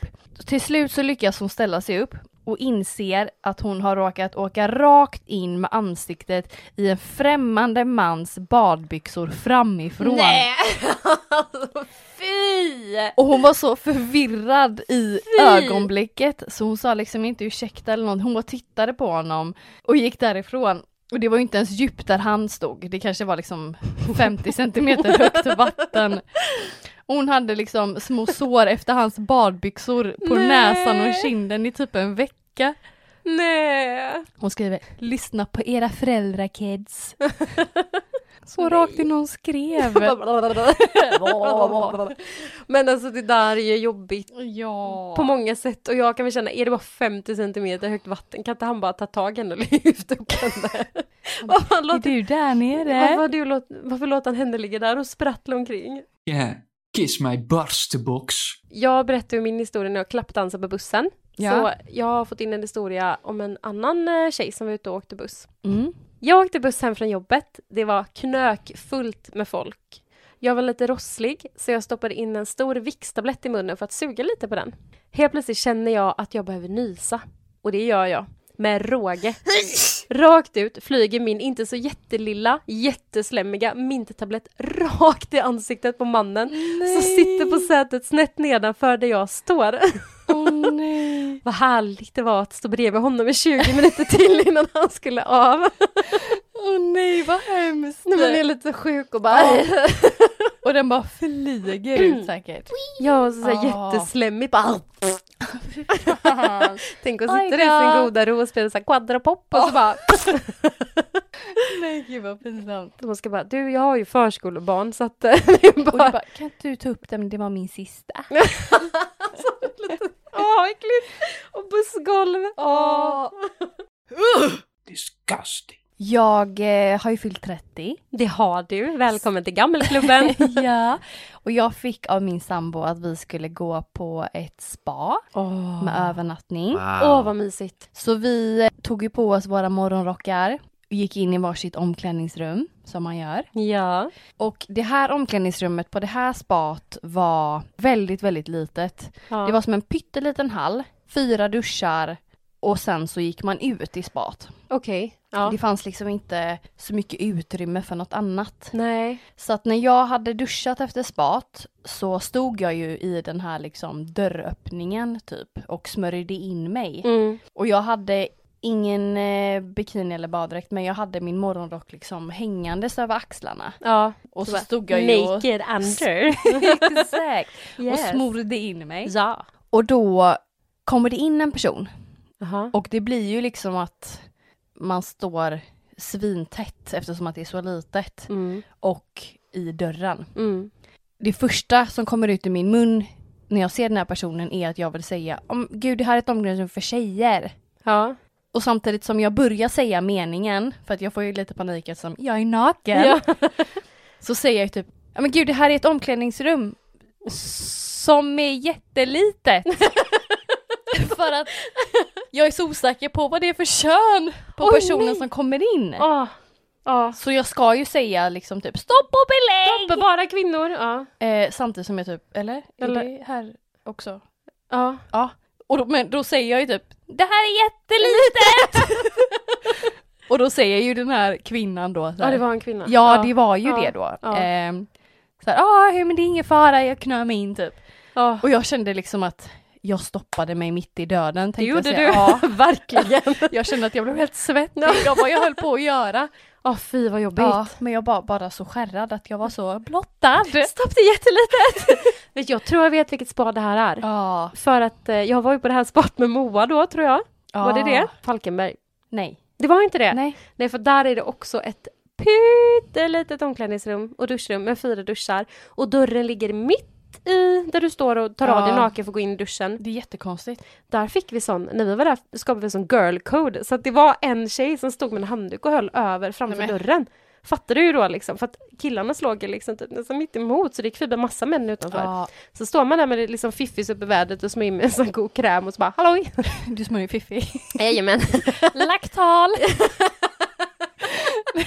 Speaker 1: Till slut så lyckas hon ställa sig upp och inser att hon har råkat åka rakt in med ansiktet i en främmande mans badbyxor framifrån.
Speaker 2: alltså fy!
Speaker 1: Och hon var så förvirrad i
Speaker 2: Fy!
Speaker 1: ögonblicket så hon sa liksom inte ursäkta eller något. Hon bara tittade på honom och gick därifrån. Och det var ju inte ens djupt där han stod. Det kanske var liksom 50 centimeter högt vatten. Och Hon hade liksom små sår efter hans badbyxor på
Speaker 2: Nej.
Speaker 1: näsan och kinden i typ en vecka.
Speaker 2: Nej.
Speaker 1: Hon skriver “Lyssna på era föräldrar kids”. Så rakt in hon skrev.
Speaker 2: Men alltså det där är ju jobbigt
Speaker 1: ja.
Speaker 2: på många sätt och jag kan väl känna, är det bara 50 centimeter högt vatten, kan inte han bara ta tag i henne och lyfta upp henne? Varför
Speaker 1: Är
Speaker 2: låter,
Speaker 1: du där nere?
Speaker 2: varför, du låt, varför låter han henne ligga där och sprattla omkring?
Speaker 4: Yeah, kiss my barsterbox.
Speaker 2: Jag berättade ju min historia när jag klappdansade på bussen.
Speaker 1: Ja.
Speaker 2: Så jag har fått in en historia om en annan eh, tjej som var ute och åkte buss.
Speaker 1: Mm.
Speaker 2: Jag åkte buss hem från jobbet. Det var knökfullt med folk. Jag var lite rosslig, så jag stoppade in en stor vikstablett i munnen för att suga lite på den. Helt plötsligt känner jag att jag behöver nysa. Och det gör jag. Med råge. Rakt ut flyger min inte så jättelilla, jätteslämmiga minttablett rakt i ansiktet på mannen som sitter på sätet snett nedanför där jag står.
Speaker 1: Åh nej.
Speaker 2: Vad härligt det var att stå bredvid honom i 20 minuter till innan han skulle av.
Speaker 1: Åh nej, vad hemskt.
Speaker 2: När man är lite sjuk och bara...
Speaker 1: Och den bara flyger ut säkert.
Speaker 2: Ja, Mm. och så, så här
Speaker 1: Ah.
Speaker 2: jätteslämmig bara... Tänk att sitta
Speaker 1: Oj
Speaker 2: där i sin
Speaker 1: då.
Speaker 2: goda ro och spela så här quadrapop och så bara...
Speaker 1: nej, gud vad pinsamt.
Speaker 2: Man ska bara, du jag har ju förskolebarn så att... eh, det är
Speaker 1: Och du
Speaker 2: bara...
Speaker 1: bara, kan inte du ta upp den? Det var min sista.
Speaker 2: Åh, äckligt! Och bussgolv! Åh!
Speaker 4: Disgusting.
Speaker 1: Jag eh, har ju fyllt 30.
Speaker 2: Det har du, välkommen till gammelklubben!
Speaker 1: ja. Och jag fick av min sambo att vi skulle gå på ett spa
Speaker 2: Åh,
Speaker 1: med övernattning.
Speaker 2: Åh, vad mysigt!
Speaker 1: Så vi eh, tog ju på oss våra morgonrockar och gick in i varsitt omklädningsrum som man gör.
Speaker 2: Ja.
Speaker 1: Och det här omklädningsrummet på det här spat var väldigt, väldigt litet.
Speaker 2: ja.
Speaker 1: Det var som en pytteliten hall, fyra duschar och sen så gick man ut i spat.
Speaker 2: Okej. Ja.
Speaker 1: Det fanns liksom inte så mycket utrymme för något annat.
Speaker 2: Nej.
Speaker 1: Så att när jag hade duschat efter spat så stod jag ju i den här liksom dörröppningen typ och smörjde in mig.
Speaker 2: Mm.
Speaker 1: Och jag hade ingen eh, bikini eller baddräkt men jag hade min morgonrock liksom hängandes över axlarna.
Speaker 2: Ja.
Speaker 1: Och så
Speaker 2: bara,
Speaker 1: stod jag ju och,
Speaker 2: Naked under!
Speaker 1: exakt, och
Speaker 2: Yes.
Speaker 1: smorde in mig.
Speaker 2: Ja.
Speaker 1: Och då kommer det in en person
Speaker 2: Jaha.
Speaker 1: och det blir ju liksom att man står svintätt eftersom att det är så litet
Speaker 2: Mm.
Speaker 1: och i dörren.
Speaker 2: Mm.
Speaker 1: det första som kommer ut i min mun när jag ser den här personen är att jag vill säga om gud det här är ett omklädningsrum för tjejer.
Speaker 2: Ja.
Speaker 1: Och samtidigt som jag börjar säga meningen, för att jag får ju lite panik eftersom jag är naken, så säger jag ju typ ja men gud det här är ett omklädningsrum som är jättelitet. för att jag är så osäker på vad det är för kön på
Speaker 2: Oj,
Speaker 1: personen
Speaker 2: nej.
Speaker 1: som kommer in.
Speaker 2: Åh. Åh.
Speaker 1: Så jag ska ju säga liksom typ stopp och belägg!
Speaker 2: Stopp, bara kvinnor! Ja.
Speaker 1: Eh, samtidigt som jag typ, eller?
Speaker 2: Eller-
Speaker 1: Är det här också?
Speaker 2: Ja.
Speaker 1: Ja. Och då, men då säger jag ju typ Det här är jättelitet! och då säger ju den här kvinnan då så
Speaker 2: Ja,
Speaker 1: här,
Speaker 2: det var en kvinna.
Speaker 1: ja, det var ju
Speaker 2: ja,
Speaker 1: det då.
Speaker 2: ja.
Speaker 1: Ehm, så här, ah, hej, men det är ingen fara, jag knör mig in typ.
Speaker 2: Ja.
Speaker 1: Och jag kände liksom att jag stoppade mig mitt i döden. tänkte
Speaker 2: Det
Speaker 1: jag
Speaker 2: gjorde
Speaker 1: säga.
Speaker 2: du,
Speaker 1: Ja,
Speaker 2: verkligen.
Speaker 1: jag kände att jag blev helt svettig av vad jag höll på att göra.
Speaker 2: Ja, fy vad jobbigt.
Speaker 1: Ja, men jag var bara så skärrad att jag var så blottad.
Speaker 2: Stopp, det är jättelitet! Vet, jag tror jag vet vilket spa det här är.
Speaker 1: Ja,
Speaker 2: För att eh, jag var ju på det här spat med Moa då, tror jag. Var det det? Falkenberg.
Speaker 1: Nej.
Speaker 2: Det var inte det. Nej,
Speaker 1: Nej.
Speaker 2: för där är det också ett pyttelitet omklädningsrum och duschrum med fyra duschar. Och dörren ligger mitt i där du står och tar av dig
Speaker 1: Ja.
Speaker 2: naken för att gå in i duschen.
Speaker 1: Det är jättekonstigt.
Speaker 2: Där fick vi sån, när vi var där skapade vi sån girl code. Så att det var en tjej som stod med en handduk och höll över framför
Speaker 1: Nej, men-
Speaker 2: dörren. Fattar du ju då liksom, för att killarna slog ju liksom typ nästan mitt emot så det gick förbi massa män utanför.
Speaker 1: Ja,
Speaker 2: Så står man där med det liksom fiffis upp i vädret och smörjer med en sån god kräm och så bara halloj!
Speaker 1: du smörjer ju fiffi.
Speaker 2: Jajamän!
Speaker 1: Laktal!
Speaker 2: Om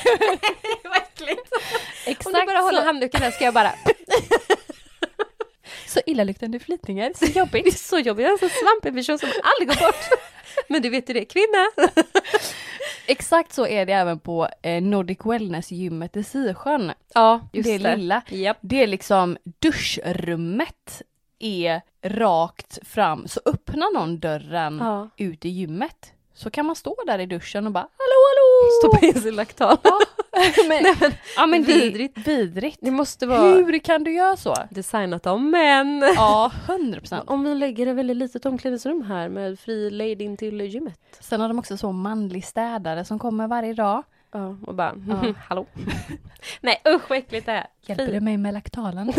Speaker 1: Exakt
Speaker 2: du bara håller
Speaker 1: så.
Speaker 2: handduken här ska jag bara...
Speaker 1: så illaluktande flytningar. Så
Speaker 2: Jobbigt! Det är så jobbigt, jag är en sån svampig person som aldrig går bort. Men du vet ju det, kvinna!
Speaker 1: exakt så är det även på eh, Nordic Wellness gymmet i Sisjön.
Speaker 2: Ja,
Speaker 1: det, lilla.
Speaker 2: Japp.
Speaker 1: Det är liksom duschrummet är rakt fram. Så öppnar någon dörren
Speaker 2: Ja.
Speaker 1: ut i gymmet så kan man stå där i duschen och bara hallå hallå!
Speaker 2: Stoppa in sin laktan.
Speaker 1: men,
Speaker 2: Nej, men,
Speaker 1: ja, men
Speaker 2: vidrigt.
Speaker 1: Det, vidrigt.
Speaker 2: det måste vara
Speaker 1: Hur kan du göra så?
Speaker 2: designat av män!
Speaker 1: Ja, 100 procent.
Speaker 2: Om vi lägger ett väldigt litet omklädningsrum här med fri lejd in till gymmet.
Speaker 1: Sen har de också så manlig städare som kommer varje dag.
Speaker 2: Ja, och bara, "Mm,
Speaker 1: Ja.
Speaker 2: hallå? Nej usch vad äckligt det är.
Speaker 1: Hjälper
Speaker 2: Fy.
Speaker 1: du mig med laktalan?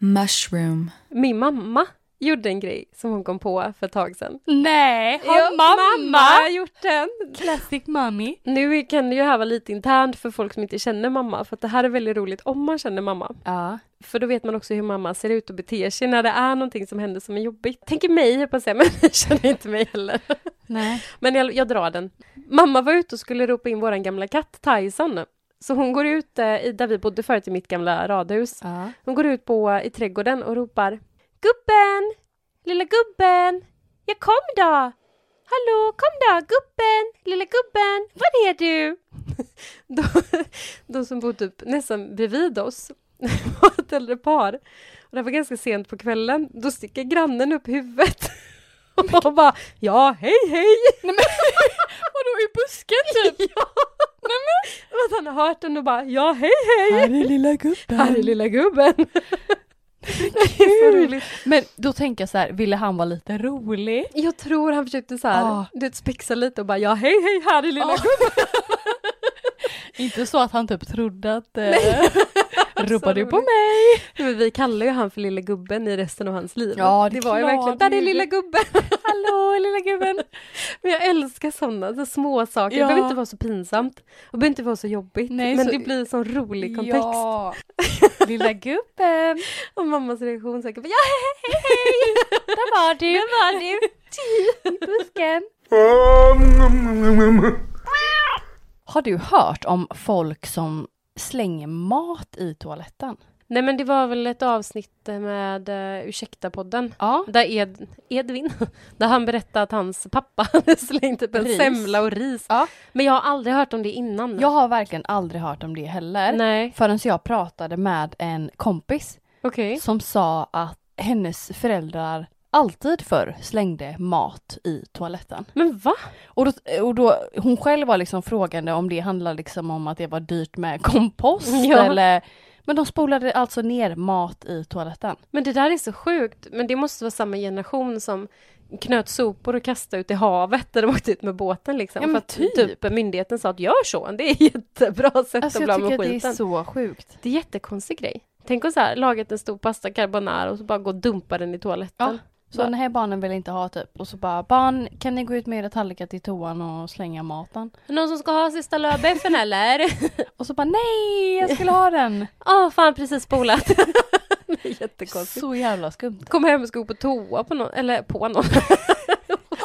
Speaker 5: mushroom,
Speaker 2: Min mamma gjorde en grej som hon kom på för ett tag sedan.
Speaker 1: Nej, har
Speaker 2: Ja, mamma har
Speaker 1: mamma?
Speaker 2: gjort den.
Speaker 1: Classic mommy.
Speaker 2: Nu kan det ju här vara lite internt för folk som inte känner mamma, för att det här är väldigt roligt om man känner mamma.
Speaker 1: Ja.
Speaker 2: För då vet man också hur mamma ser ut och beter sig när det är någonting som händer som är jobbigt. Tänker mig, jag höll på att säga, men ni känner inte mig heller.
Speaker 1: Nej.
Speaker 2: Men jag, jag drar den. Mamma var ute och skulle ropa in våran gamla katt Tyson. Så hon går ut eh, i- där vi bodde förut i mitt gamla radhus.
Speaker 1: Ja.
Speaker 2: Hon går ut på, eh, i trädgården och ropar Gubben! Lilla gubben! Jag kom då! Hallå, kom då! Gubben! Lilla gubben! Var är du? De, de som bodde upp nästan bredvid oss var ett äldre par. Och det var ganska sent på kvällen. Då sticker grannen upp huvudet och bara Ja, hej hej!
Speaker 1: Vadå i busken typ?
Speaker 2: Ja! Nej, men. Att han har hört den och bara ja hej hej!
Speaker 1: är lilla
Speaker 2: Här är
Speaker 1: gubben.
Speaker 2: lilla gubben! det är så roligt.
Speaker 1: Men då tänker jag så här, ville han vara lite rolig?
Speaker 2: Jag tror han försökte så här,
Speaker 1: Ah.
Speaker 2: du vet, spexa lite och bara ja hej hej här är lilla
Speaker 1: Ah.
Speaker 2: gubben!
Speaker 1: Inte så att han typ trodde att... Eh, ropade du på
Speaker 2: roligt.
Speaker 1: mig?
Speaker 2: Men vi kallar ju han för lilla gubben i resten av hans liv.
Speaker 1: Ja, det är
Speaker 2: var ju
Speaker 1: klart
Speaker 2: verkligen, där
Speaker 1: vi
Speaker 2: är lilla
Speaker 1: gjorde.
Speaker 2: gubben!
Speaker 1: Hallå lilla gubben.
Speaker 2: Men jag älskar sådana så små saker.
Speaker 1: Ja.
Speaker 2: Det behöver inte vara så pinsamt. Och behöver inte vara så jobbigt.
Speaker 1: Nej,
Speaker 2: men
Speaker 1: så-
Speaker 2: det blir en sån rolig kontext.
Speaker 1: Ja. Lilla gubben.
Speaker 2: Och mammas reaktion säkert bara, ja hej hej hej!
Speaker 1: Där var du.
Speaker 2: Där var du!
Speaker 1: I busken. Har du hört om folk som slänger mat i toaletten?
Speaker 2: Nej men det var väl ett avsnitt eh, med uh, Ursäkta-podden.
Speaker 1: Ja.
Speaker 2: Där Ed, Edvin, där han berättade att hans pappa hade slängt typ en
Speaker 1: Ris.
Speaker 2: semla och ris.
Speaker 1: Ja.
Speaker 2: Men jag har aldrig hört om det innan.
Speaker 1: Jag har verkligen aldrig hört om det heller.
Speaker 2: Nej,
Speaker 1: Förrän jag pratade med en kompis
Speaker 2: okej.
Speaker 1: som sa att hennes föräldrar alltid förr slängde mat i toaletten.
Speaker 2: Men va?
Speaker 1: Och då, och då, hon själv var liksom frågande om det handlade liksom om att det var dyrt med kompost
Speaker 2: Ja.
Speaker 1: eller... Men de spolade alltså ner mat i toaletten.
Speaker 2: Men det där är så sjukt. Men det måste vara samma generation som knöt sopor och kastade ut i havet där de åkte ut med båten liksom.
Speaker 1: Ja, men
Speaker 2: För att
Speaker 1: typ.
Speaker 2: myndigheten sa att gör så, det är ett jättebra sätt
Speaker 1: Alltså
Speaker 2: att
Speaker 1: jag
Speaker 2: bli av
Speaker 1: tycker
Speaker 2: med
Speaker 1: att det är
Speaker 2: skiten.
Speaker 1: så sjukt.
Speaker 2: Det är en jättekonstig grej. Tänk att så här, lagat en stor pasta carbonara och så bara gå och dumpa den i toaletten.
Speaker 1: Så den här barnen vill inte ha typ. Och så bara, barn kan ni gå ut med era tallrikar till toan och slänga maten?
Speaker 2: Någon som ska ha sista lövbiffen eller?
Speaker 1: Och så bara, nej jag skulle ha den.
Speaker 2: Åh, fan precis spolat. det är jättekonstigt.
Speaker 1: så jävla skumt.
Speaker 2: Kom hem och ska gå på toa på någon, eller på någon.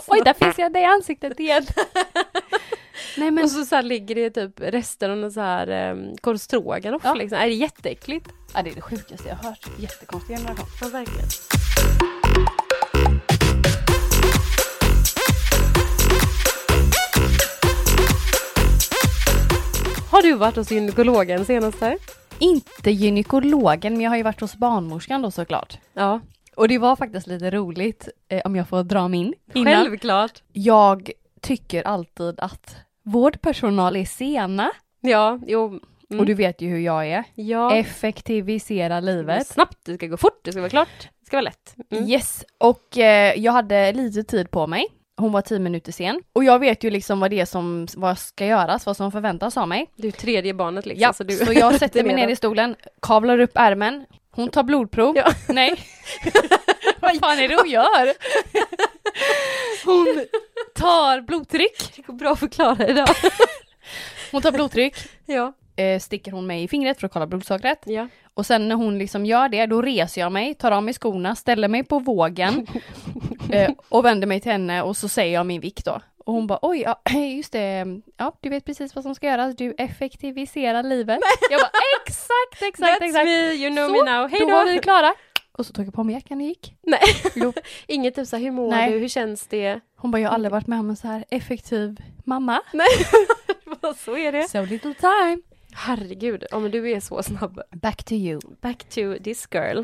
Speaker 1: Oj, där finns jag dig i ansiktet igen. nej men,
Speaker 2: och så, så här ligger det typ rester av någon så här um, korv stroganoff
Speaker 1: Ja.
Speaker 2: liksom. Är det är jätteäckligt?
Speaker 1: ja, det är det sjukaste jag har hört. Jättekonstig generation.
Speaker 2: Ja, verkligen. Har du varit hos gynekologen senaste?
Speaker 1: Inte gynekologen, men jag har ju varit hos barnmorskan då såklart.
Speaker 2: Ja,
Speaker 1: Och det var faktiskt lite roligt, eh, om jag får dra min innan.
Speaker 2: självklart.
Speaker 1: Jag tycker alltid att vårdpersonal är sena.
Speaker 2: Ja, jo. Mm.
Speaker 1: Och du vet ju hur jag är.
Speaker 2: Ja.
Speaker 1: Effektivisera livet.
Speaker 2: Snabbt, det ska gå fort, det ska vara klart, det ska vara lätt. Mm.
Speaker 1: Yes, och eh, jag hade lite tid på mig. Hon var tio minuter sen. Och jag vet ju liksom vad det är som vad ska göras, vad som förväntas av mig.
Speaker 2: Du är tredje barnet liksom.
Speaker 1: Ja, så,
Speaker 2: så du...
Speaker 1: jag sätter mig ner i stolen, kavlar upp ärmen. Hon tar blodprov.
Speaker 2: Ja.
Speaker 1: Nej. vad fan är det hon gör? hon tar blodtryck.
Speaker 2: Det går bra att förklara idag.
Speaker 1: Hon tar blodtryck.
Speaker 2: ja.
Speaker 1: Eh, sticker hon mig i fingret för att kolla blodsockret.
Speaker 2: ja.
Speaker 1: Och sen när hon liksom gör det, då reser jag mig, tar av mig skorna, ställer mig på vågen eh, och vänder mig till henne och så säger jag min vikt då. Och hon bara oj, ja, just det, ja du vet precis vad som ska göras, du effektiviserar livet. Jag bara exakt, exakt,
Speaker 2: That's
Speaker 1: exakt.
Speaker 2: me, you know
Speaker 1: Så,
Speaker 2: me now. Hej
Speaker 1: Då
Speaker 2: då!
Speaker 1: var vi klara. Och så tog jag på mig jackan och gick.
Speaker 2: Nej.
Speaker 1: Jo.
Speaker 2: Inget typ såhär, hur mår
Speaker 1: Nej.
Speaker 2: du, hur känns det?
Speaker 1: Hon bara, jag har aldrig varit med om en så här effektiv mamma.
Speaker 2: så är det.
Speaker 1: So little time.
Speaker 2: Herregud, ja men du är så snabb.
Speaker 1: Back to you.
Speaker 2: Back to this girl.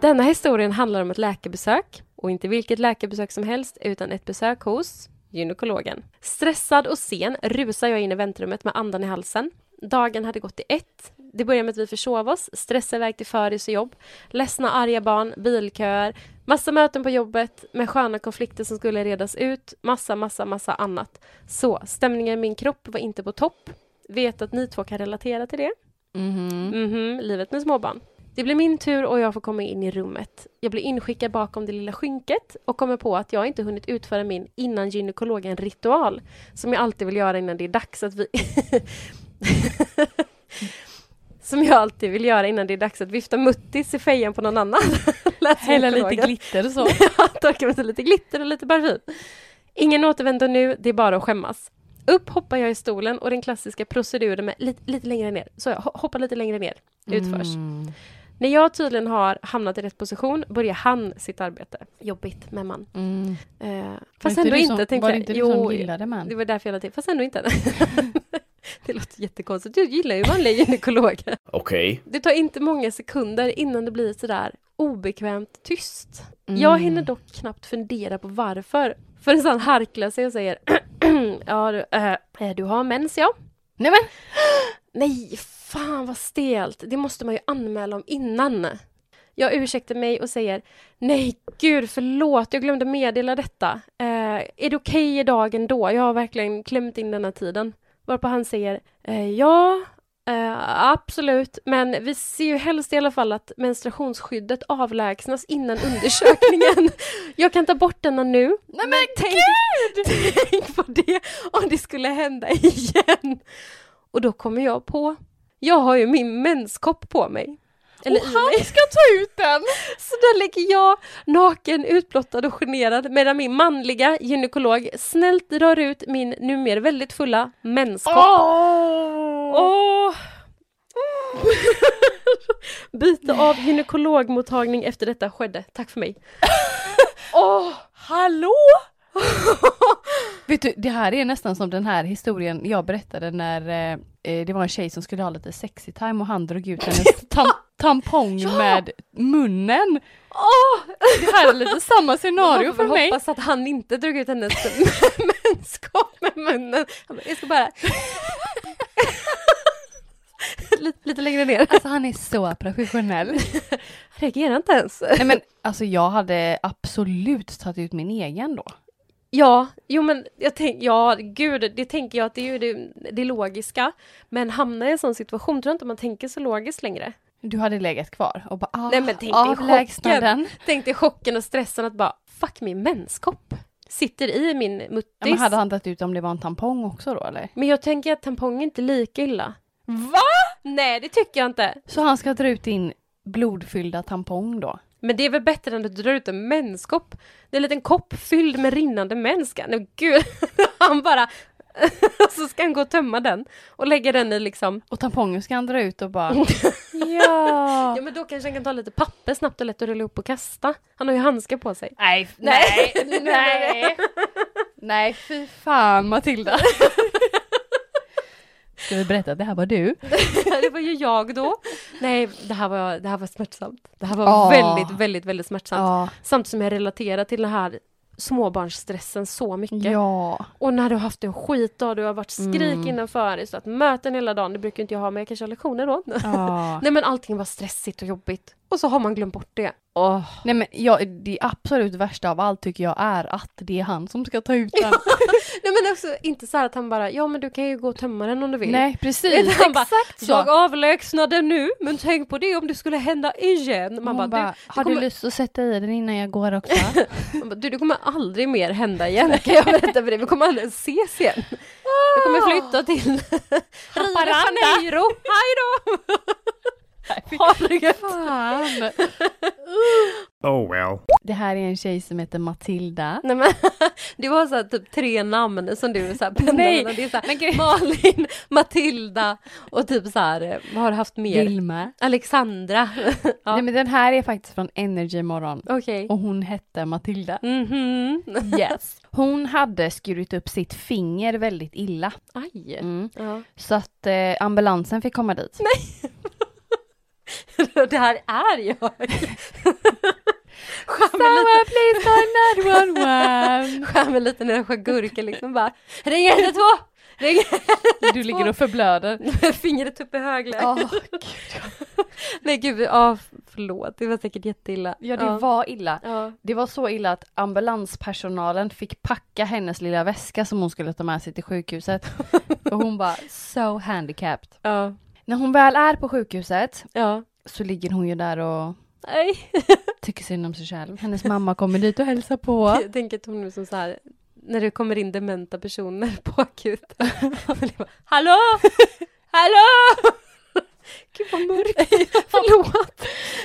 Speaker 2: Denna historien handlar om ett läkarbesök och inte vilket läkarbesök som helst utan ett besök hos gynekologen. Stressad och sen rusar jag in i väntrummet med andan i halsen. Dagen hade gått i ett. Det börjar med att vi försov oss, stressar iväg till föris och jobb, ledsna arga barn, bilköer, massa möten på jobbet med sköna konflikter som skulle redas ut, massa, massa, massa annat. Så stämningen i min kropp var inte på topp. Vet att ni två kan relatera till det.
Speaker 1: Mhm.
Speaker 2: Mhm, livet med småbarn. Det blir min tur och jag får komma in i rummet. Jag blir inskickad bakom det lilla skynket och kommer på att jag inte hunnit utföra min innan gynekologen-ritual som jag alltid vill göra innan det är dags att vi... som jag alltid vill göra innan det är dags att vifta muttis i fejan på någon annan. Lät som
Speaker 1: Hälla lite
Speaker 2: gynekologen.
Speaker 1: glitter och så.
Speaker 2: Ja, torka med sig lite glitter och lite parfym. Ingen återvändo nu, det är bara att skämmas. Upp hoppar jag i stolen och den klassiska proceduren med lite, lite längre ner, så jag ho- hoppar lite längre ner, utförs.
Speaker 1: Mm.
Speaker 2: När jag tydligen har hamnat i rätt position börjar han sitt arbete. Jobbigt med man.
Speaker 1: Mm.
Speaker 2: Eh,
Speaker 1: Var
Speaker 2: fast
Speaker 1: inte
Speaker 2: ändå
Speaker 1: du
Speaker 2: inte.
Speaker 1: som-
Speaker 2: tänkte
Speaker 1: Var det
Speaker 2: jag.
Speaker 1: inte du
Speaker 2: Jo,
Speaker 1: som gillade
Speaker 2: Det
Speaker 1: man?
Speaker 2: var därför jag la till, fast ändå inte. det låter jättekonstigt. Du gillar ju vanliga gynekologer.
Speaker 5: Okej.
Speaker 2: Det tar inte många sekunder innan det blir sådär obekvämt tyst. Jag hinner dock knappt fundera på varför. Förrän han harklar sig och säger Ja, du, eh, du har mens ja.
Speaker 1: Nej men!
Speaker 2: Nej, fan vad stelt. Det måste man ju anmäla om innan. Jag ursäktar mig och säger Nej, gud förlåt, jag glömde meddela detta. Eh, är det okej i dagen då? Jag har verkligen klämt in denna tiden. Varpå han säger eh, Ja, eh, absolut, men vi ser ju helst i alla fall att menstruationsskyddet avlägsnas innan undersökningen. jag kan ta bort denna nu.
Speaker 1: Nej
Speaker 2: Men tänk, tänk på det om det skulle hända igen. Och då kommer jag på, jag har ju min menskopp på mig. Eller i mig.
Speaker 1: ska ta ut den!
Speaker 2: Så där ligger jag naken, utblottad och generad medan min manliga gynekolog snällt drar ut min numera väldigt fulla menskopp.
Speaker 1: Åh!
Speaker 2: Åh! Byte av gynekologmottagning efter detta skedde. Tack för mig.
Speaker 1: Åh! Hallå! Vet du, det här är nästan som den här historien jag berättade när eh, eh, det var en tjej som skulle ha lite sexy time och han drog ut hennes tam tampong med munnen. Det här är lite samma scenario för mig.
Speaker 2: hoppas att han inte drog ut hennes menskopp med munnen. Han bara, Jag ska bara... lite, lite längre ner.
Speaker 1: Alltså han är så professionell.
Speaker 2: Reagerar inte ens.
Speaker 1: Nej men alltså jag hade absolut tagit ut min egen då.
Speaker 2: Ja, jo men jag tänk, ja gud, det tänker jag att det är ju det, det logiska. Men hamnar i en sån situation tror jag inte man tänker så logiskt längre.
Speaker 1: Du hade legat kvar och bara ah,
Speaker 2: Nej, men tänk dig
Speaker 1: avlägsna
Speaker 2: chocken.
Speaker 1: den.
Speaker 2: Tänk dig chocken och stressen att bara, fuck min menskopp. Sitter i min muttis.
Speaker 1: Ja, men hade han tagit ut om det var en tampong också då eller?
Speaker 2: men jag tänker att tampong är inte lika illa.
Speaker 1: Va?
Speaker 2: Nej, det tycker jag inte.
Speaker 1: Så han ska dra ut din blodfyllda tampong då?
Speaker 2: Men det är väl bättre än att du drar ut en menskopp? Det är en liten kopp fylld med rinnande menska. Nej gud, han bara... så ska han gå och tömma den och lägga den i liksom...
Speaker 1: Och tampongen ska han dra ut och bara
Speaker 2: Ja
Speaker 1: ja.
Speaker 2: men då kanske han kan ta lite papper snabbt och lätt och rulla upp och kasta. Han har ju handskar på sig.
Speaker 1: Nej, nej, nej. Nej, fy fan Matilda. Ska vi berätta att det här var du?
Speaker 2: det var ju jag då. Nej, det här var, det här var smärtsamt. Det här var
Speaker 1: Ah.
Speaker 2: väldigt, väldigt, väldigt smärtsamt.
Speaker 1: Ja.
Speaker 2: Samtidigt som jag relaterar till den här småbarnsstressen så mycket.
Speaker 1: Ja. Mm.
Speaker 2: Och när du har haft en skitdag, du har varit skrik innanför dig, så att möten hela dagen, det brukar inte jag ha, men jag kanske har lektioner då.
Speaker 1: ja.
Speaker 2: Nej men allting var stressigt och jobbigt. Och så har man glömt bort det. Åh.
Speaker 1: Nej men jag, det absolut värsta av allt tycker jag är att det är han som ska ta ut den.
Speaker 2: Nej men också inte så här att han bara, ja men du kan ju gå och tömma den om du vill.
Speaker 1: Nej
Speaker 2: Utan
Speaker 1: precis.
Speaker 2: han bara,
Speaker 1: Exakt så.
Speaker 2: jag avlägsnar den nu, men tänk på det om det skulle hända igen. Man bara,
Speaker 1: Hon bara, har
Speaker 2: kommer-
Speaker 1: du lust att sätta i den innan jag går också?
Speaker 2: du, man bara, du, det kommer aldrig mer hända igen, kan jag berätta för dig. Vi kommer aldrig ses igen. Jag kommer flytta till Rio de Janeiro. Ah! Hej då! Ha det gött.
Speaker 1: Fan.
Speaker 5: Oh well.
Speaker 1: Det här är en tjej som heter Matilda.
Speaker 2: Nej, men, det var så här, typ tre namn som du så här, pendlade
Speaker 1: Nej,
Speaker 2: mellan. Det är så här, Malin, Matilda och typ så här, eh, vad har du haft mer?
Speaker 1: Vilma.
Speaker 2: Alexandra. Ja.
Speaker 1: Nej men den här är faktiskt från Energy morgon.
Speaker 2: Okej.
Speaker 1: Och hon hette Matilda.
Speaker 2: Mhm.
Speaker 1: Yes. Hon hade skurit upp sitt finger väldigt illa.
Speaker 2: Aj.
Speaker 1: Mm.
Speaker 2: Ja.
Speaker 1: Så att eh, ambulansen fick komma dit.
Speaker 2: Det här är jag. Skär mig lite,
Speaker 1: Someone please call 911.
Speaker 2: skär mig lite när jag skär gurka liksom bara. Ring 112! Ring
Speaker 1: Du ligger och förblöder.
Speaker 2: Fingret upp i högläge.
Speaker 1: Åh, gud.
Speaker 2: Nej gud, ja förlåt. Det var säkert jätteilla.
Speaker 1: Ja, det var illa.
Speaker 2: Ja.
Speaker 1: Det var så illa att ambulanspersonalen fick packa hennes lilla väska som hon skulle ta med sig till sjukhuset. Och hon bara so handicapped.
Speaker 2: Ja.
Speaker 1: När hon väl är på sjukhuset
Speaker 2: ja.
Speaker 1: så ligger hon ju där och
Speaker 2: Nej.
Speaker 1: tycker synd om sig själv. Hennes mamma kommer dit och hälsar på.
Speaker 2: Jag tänker att hon är som så här, när det kommer in dementa personer på akuten. Och det bara, Hallå! Hallå! Gud vad mörkt. Förlåt.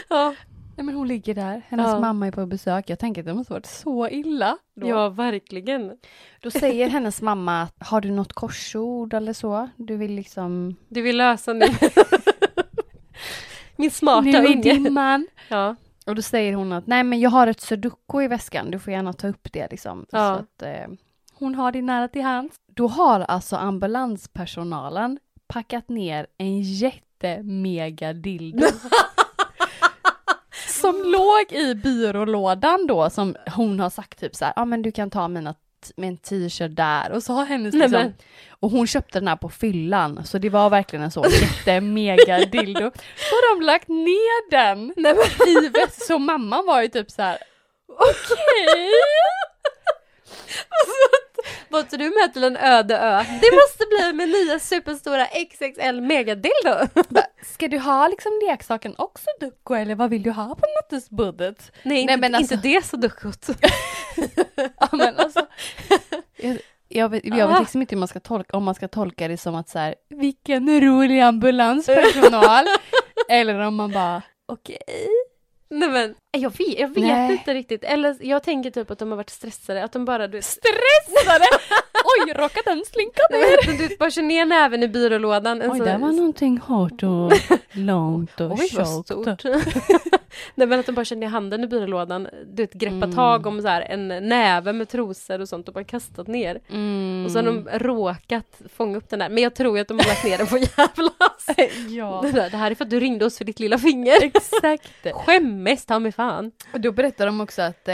Speaker 2: Ja,
Speaker 1: Nej men hon ligger där, hennes
Speaker 2: Ja.
Speaker 1: mamma är på besök. Jag tänker att det måste varit så illa. Då.
Speaker 2: ja verkligen.
Speaker 1: då säger hennes mamma att har du något korsord eller så? Du vill liksom...
Speaker 2: Du vill lösa nu. Min smarta
Speaker 1: Nu i
Speaker 2: unge.
Speaker 1: dimman.
Speaker 2: Ja.
Speaker 1: Och då säger hon att nej men jag har ett sudoku i väskan, du får gärna ta upp det liksom.
Speaker 2: Ja.
Speaker 1: Så att, eh, hon har det nära till hands. Då har alltså ambulanspersonalen packat ner en jättemega dildo. som låg i byrålådan då som hon har sagt typ så här, ja ah, men du kan ta mina t- min t-shirt där och så har hennes
Speaker 2: Nej,
Speaker 1: liksom,
Speaker 2: men-
Speaker 1: och hon köpte den här på fyllan så det var verkligen en sån jättemega dildo. Så har de lagt ner den
Speaker 2: Nej, men,
Speaker 1: i väst. Så mamman var ju typ så här. okej.
Speaker 2: var inte du med till en öde ö? Det måste bli med nya superstora XXL megadildo.
Speaker 1: Bara, Ska du ha liksom leksaken också Ducko eller vad vill du ha på nattesbuddet?
Speaker 2: Nej, inte,
Speaker 1: men alltså-
Speaker 2: inte det så duckot.
Speaker 1: Ja men alltså. Jag, jag, vet, jag
Speaker 2: Ah.
Speaker 1: vet liksom inte hur man ska tolka, om man ska tolka det som att så här, vilken rolig ambulanspersonal. eller om man bara,
Speaker 2: Okej. Nej men, Eh, jag vet, jag vet
Speaker 1: Nej.
Speaker 2: inte riktigt. Eller jag tänker typ att de har varit stressade, att de bara du vet,
Speaker 1: stressade! Oj, råkade den slinka ner?
Speaker 2: du vet, bara kör ner näven i byrålådan. En
Speaker 1: Oj,
Speaker 2: sån-
Speaker 1: där var någonting hårt och långt och
Speaker 2: Alltså, Oj
Speaker 1: tjockt.
Speaker 2: vad stort. Nej men att de bara kör ner handen i byrålådan, du vet greppa
Speaker 1: Mm.
Speaker 2: tag om så här, en näve med trosor och sånt och bara kastat ner.
Speaker 1: Mm.
Speaker 2: Och så har de råkat fånga upp den där, men jag tror ju att de har lagt ner den på jävlas.
Speaker 1: Ja,
Speaker 2: Det där, Det här är för att du ringde oss för ditt lilla finger.
Speaker 1: exakt.
Speaker 2: Skämmes ta mig fan.
Speaker 1: Och då berättar de också att eh,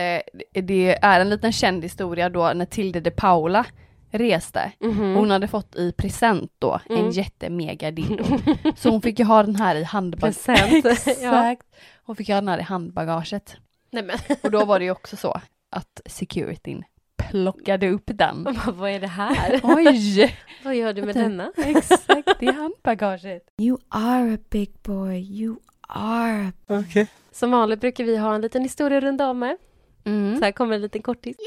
Speaker 1: det är en liten känd historia då när Tilde de Paula reste.
Speaker 2: Mm.
Speaker 1: Hon hade fått i present då en jättemega dildo. Så hon fick ju ha den här i handbagaget.
Speaker 2: Present. ja.
Speaker 1: Exakt. Hon fick ju ha den här i handbagaget.
Speaker 2: Nej men,
Speaker 1: Och då var det ju också så att securityn plockade upp den.
Speaker 2: vad är det här?
Speaker 1: Oj!
Speaker 2: Vad gör du med denna?
Speaker 1: Exakt, i handbagaget.
Speaker 6: You are a big boy. You are a
Speaker 2: Som vanligt brukar vi ha en liten historierunda om med.
Speaker 1: Mm.
Speaker 2: Så här kommer en liten kortis. Så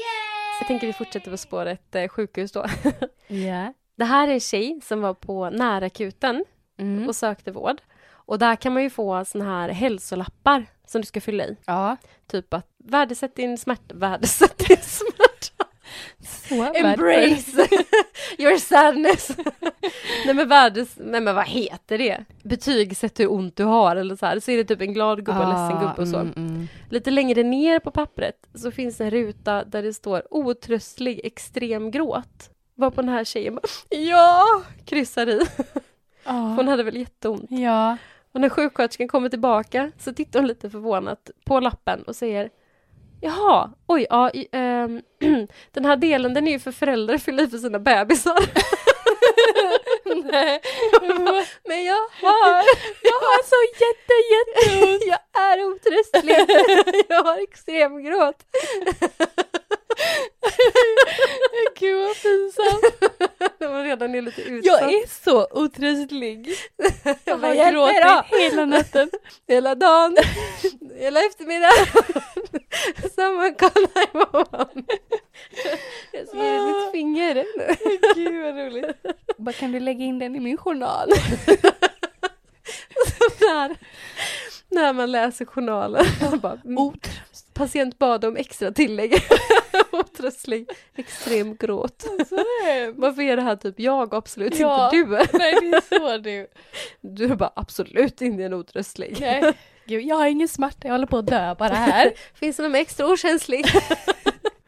Speaker 2: jag tänker vi fortsätter på spåret eh, sjukhus då.
Speaker 1: Ja.
Speaker 2: Det här är en tjej som var på närakuten
Speaker 1: Mm.
Speaker 2: och sökte vård. Och där kan man ju få såna här hälsolappar som du ska fylla i.
Speaker 1: Ja.
Speaker 2: Typ att värdesätt din smärta, värdesätt din smärta.
Speaker 1: Så
Speaker 2: Embrace your sadness. nej men värdes, nej men vad heter det? Betygsätt hur ont du har eller så här. Så är det typ en glad gubbe och en ledsen gubbe och så.
Speaker 1: Mm, mm.
Speaker 2: Lite längre ner på pappret så finns en ruta där det står otröstlig extrem gråt. Var på den här tjejen bara, ja, kryssar i.
Speaker 1: Ja.
Speaker 2: Hon hade väl jätteont.
Speaker 1: Ja.
Speaker 2: Och när sjuksköterskan kommer tillbaka så tittar hon lite förvånat på lappen och säger Jaha, oj, ja, i, ehm, den här delen den är ju för föräldrar att fylla i för sina bebisar. Nej. Men jag har, jag har så jätte, jätteont. Jag är otröstlig. Jag har extrem gråt.
Speaker 1: Gud vad pinsamt.
Speaker 2: De var redan är lite utsatt.
Speaker 1: Jag är så otröstlig. Jag
Speaker 2: bara,
Speaker 1: har
Speaker 2: "Hjälp mig då!"
Speaker 1: gråtit hela natten.
Speaker 2: Hela dagen, hela eftermiddagen. Someone call 911. Jag smerar
Speaker 1: Ah.
Speaker 2: mitt finger.
Speaker 1: Gud vad roligt. Bara, kan du lägga in den i min journal?
Speaker 2: Där. När man läser journalen. Jag Bara, mm,
Speaker 1: Oh. Otröst.
Speaker 2: patient bad om extra tillägg. Otröstlig, extrem gråt.
Speaker 1: Alltså,
Speaker 2: Varför är det här typ jag och absolut
Speaker 1: Ja.
Speaker 2: inte du?
Speaker 1: Nej det är så du.
Speaker 2: Du är bara absolut inte en otröstlig.
Speaker 1: Nej. Gud, jag har ingen smärta, jag håller på att dö bara här.
Speaker 2: Finns det någon extra okänslig?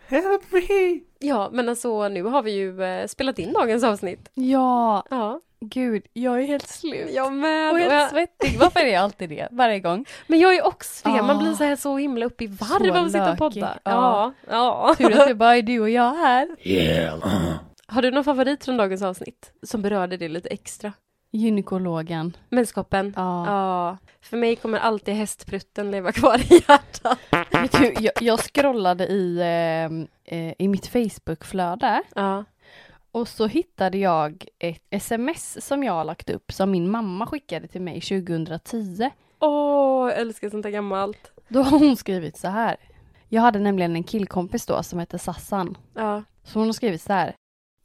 Speaker 5: Help me!
Speaker 2: Ja, men alltså nu har vi ju eh, spelat in dagens avsnitt.
Speaker 1: Ja,
Speaker 2: Ja,
Speaker 1: gud, jag är helt slut.
Speaker 2: jag med.
Speaker 1: och
Speaker 2: Och
Speaker 1: helt
Speaker 2: jag,
Speaker 1: svettig. Varför är jag alltid det? Varje gång.
Speaker 2: men jag är också det, man
Speaker 1: Ah.
Speaker 2: blir så här så Ah. himla uppe i varv
Speaker 1: Så
Speaker 2: av att sitta och
Speaker 1: lökig.
Speaker 2: podda. Ja.
Speaker 1: Ja.
Speaker 2: ja.
Speaker 1: Tur att det bara är du och jag här.
Speaker 2: Har du någon favorit från dagens avsnitt som berörde det lite extra?
Speaker 1: Gynekologen.
Speaker 2: Mänskoppen?
Speaker 1: Ja.
Speaker 2: ja. För mig kommer alltid hästprutten leva kvar i hjärtat.
Speaker 1: Vet du, jag, jag scrollade i, ehm, eh, i mitt Facebookflöde
Speaker 2: Ja.
Speaker 1: och så hittade jag ett sms som jag har lagt upp som min mamma skickade till mig 2010.
Speaker 2: Åh, jag älskar sånt där gammalt.
Speaker 1: Då har hon skrivit så här. Jag hade nämligen en killkompis då som hette Sassan.
Speaker 2: Ja.
Speaker 1: Så hon har skrivit så här.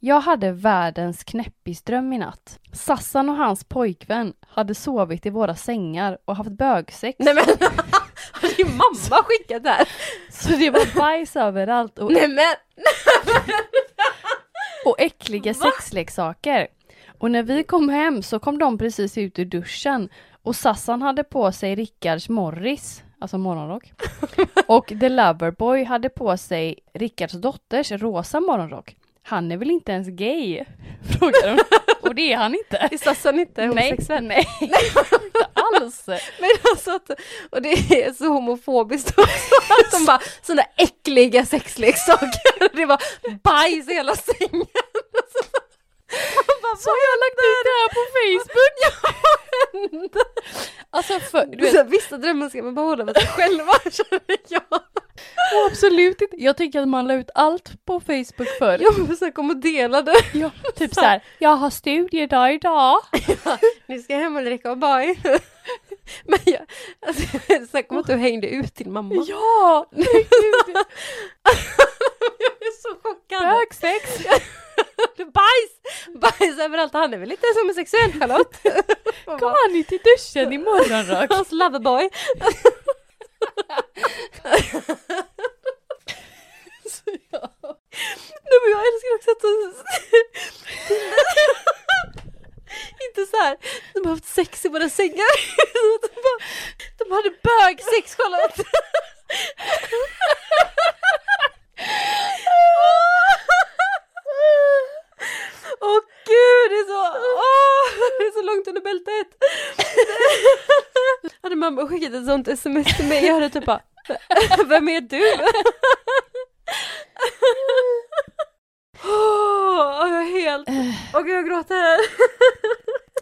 Speaker 1: Jag hade världens knäppisdröm i natt. Sassan och hans pojkvän hade sovit i våra sängar och haft bögsex.
Speaker 2: Nej men, har din mamma skickat det här?
Speaker 1: Så det var bajs överallt och,
Speaker 2: Nej men!
Speaker 1: och äckliga sexleksaker. Och när vi kom hem så kom de precis ut ur duschen och Sassan hade på sig Rickards Morris, alltså morgonrock. Och The Loverboy hade på sig Rickards dotters rosa morgonrock. Han är väl inte ens gay? Frågar hon. Och det är han inte.
Speaker 2: Är Sassan inte homosexuell?
Speaker 1: Nej, nej, inte alls.
Speaker 2: Men alltså att, och det är så homofobiskt också, att de bara, sådana äckliga sexleksaker, det var bajs i hela sängen. Alltså, man bara,
Speaker 1: Så har jag lagt ut det här på Facebook. Alltså för, du vet,
Speaker 2: så här, vissa drömmar ska man bara hålla för sig själva, känner jag.
Speaker 1: absolut inte. Jag tycker att man la ut allt på Facebook förr.
Speaker 2: Jag försöker komma och dela det.
Speaker 1: Ja, typ så här, jag har studiedag idag.
Speaker 2: Nu ska jag hem och dricka och baj. Men jag, alltså, snacka om att du hängde ut din mamma.
Speaker 1: Ja,
Speaker 2: Jag är så chockad.
Speaker 1: bögsex.
Speaker 2: Bajs! Bajs överallt, han är väl inte ens homosexuell Charlotte? Man bara,
Speaker 1: Kom han ut i duschen i morgonrock.
Speaker 2: Hans loverboy. Så ja. Nej men jag älskar också att de... Inte så här. de har haft sex i våra sängar. de, bara, de hade bögsex Charlotte. Åh gud, det är så, åh, det är så långt under bältet. Hade mamma skickat ett sånt sms till mig, jag hade typ bara, vem är du? Åh, jag är helt, åh gud jag gråter här.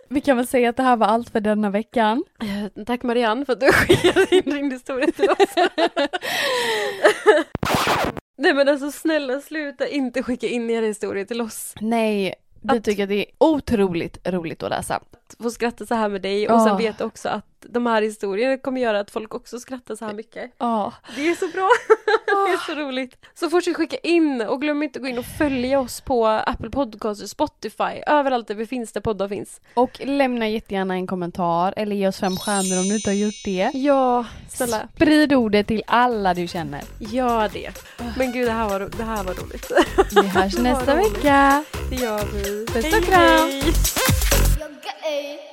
Speaker 1: Vi kan väl säga att det här var allt för denna veckan.
Speaker 2: Eh, Tack Marianne för att du skickade in din historia till oss. Nej men alltså snälla sluta inte skicka in era historier till oss.
Speaker 1: Nej, vi
Speaker 2: Att-
Speaker 1: tycker att det är otroligt roligt att läsa.
Speaker 2: Få skratta så här med dig och sen
Speaker 1: Ah.
Speaker 2: veta också att de här historierna kommer göra att folk också skrattar så här mycket.
Speaker 1: Ja.
Speaker 2: Det är så bra. Det är så roligt. Så fortsätt skicka in och glöm inte att gå in och följa oss på Apple Podcasts och Spotify. Överallt där vi finns, där poddar finns.
Speaker 1: Och lämna jättegärna en kommentar eller ge oss fem stjärnor om du inte har gjort det.
Speaker 2: Ja, snälla.
Speaker 1: Sprid ordet till alla du känner.
Speaker 2: Gör det. Men gud, det här var, ro- det här var roligt.
Speaker 1: Vi hörs
Speaker 2: Det var
Speaker 1: nästa
Speaker 2: roligt.
Speaker 1: vecka.
Speaker 2: Det gör vi.
Speaker 1: Puss och kram.
Speaker 3: You're gay.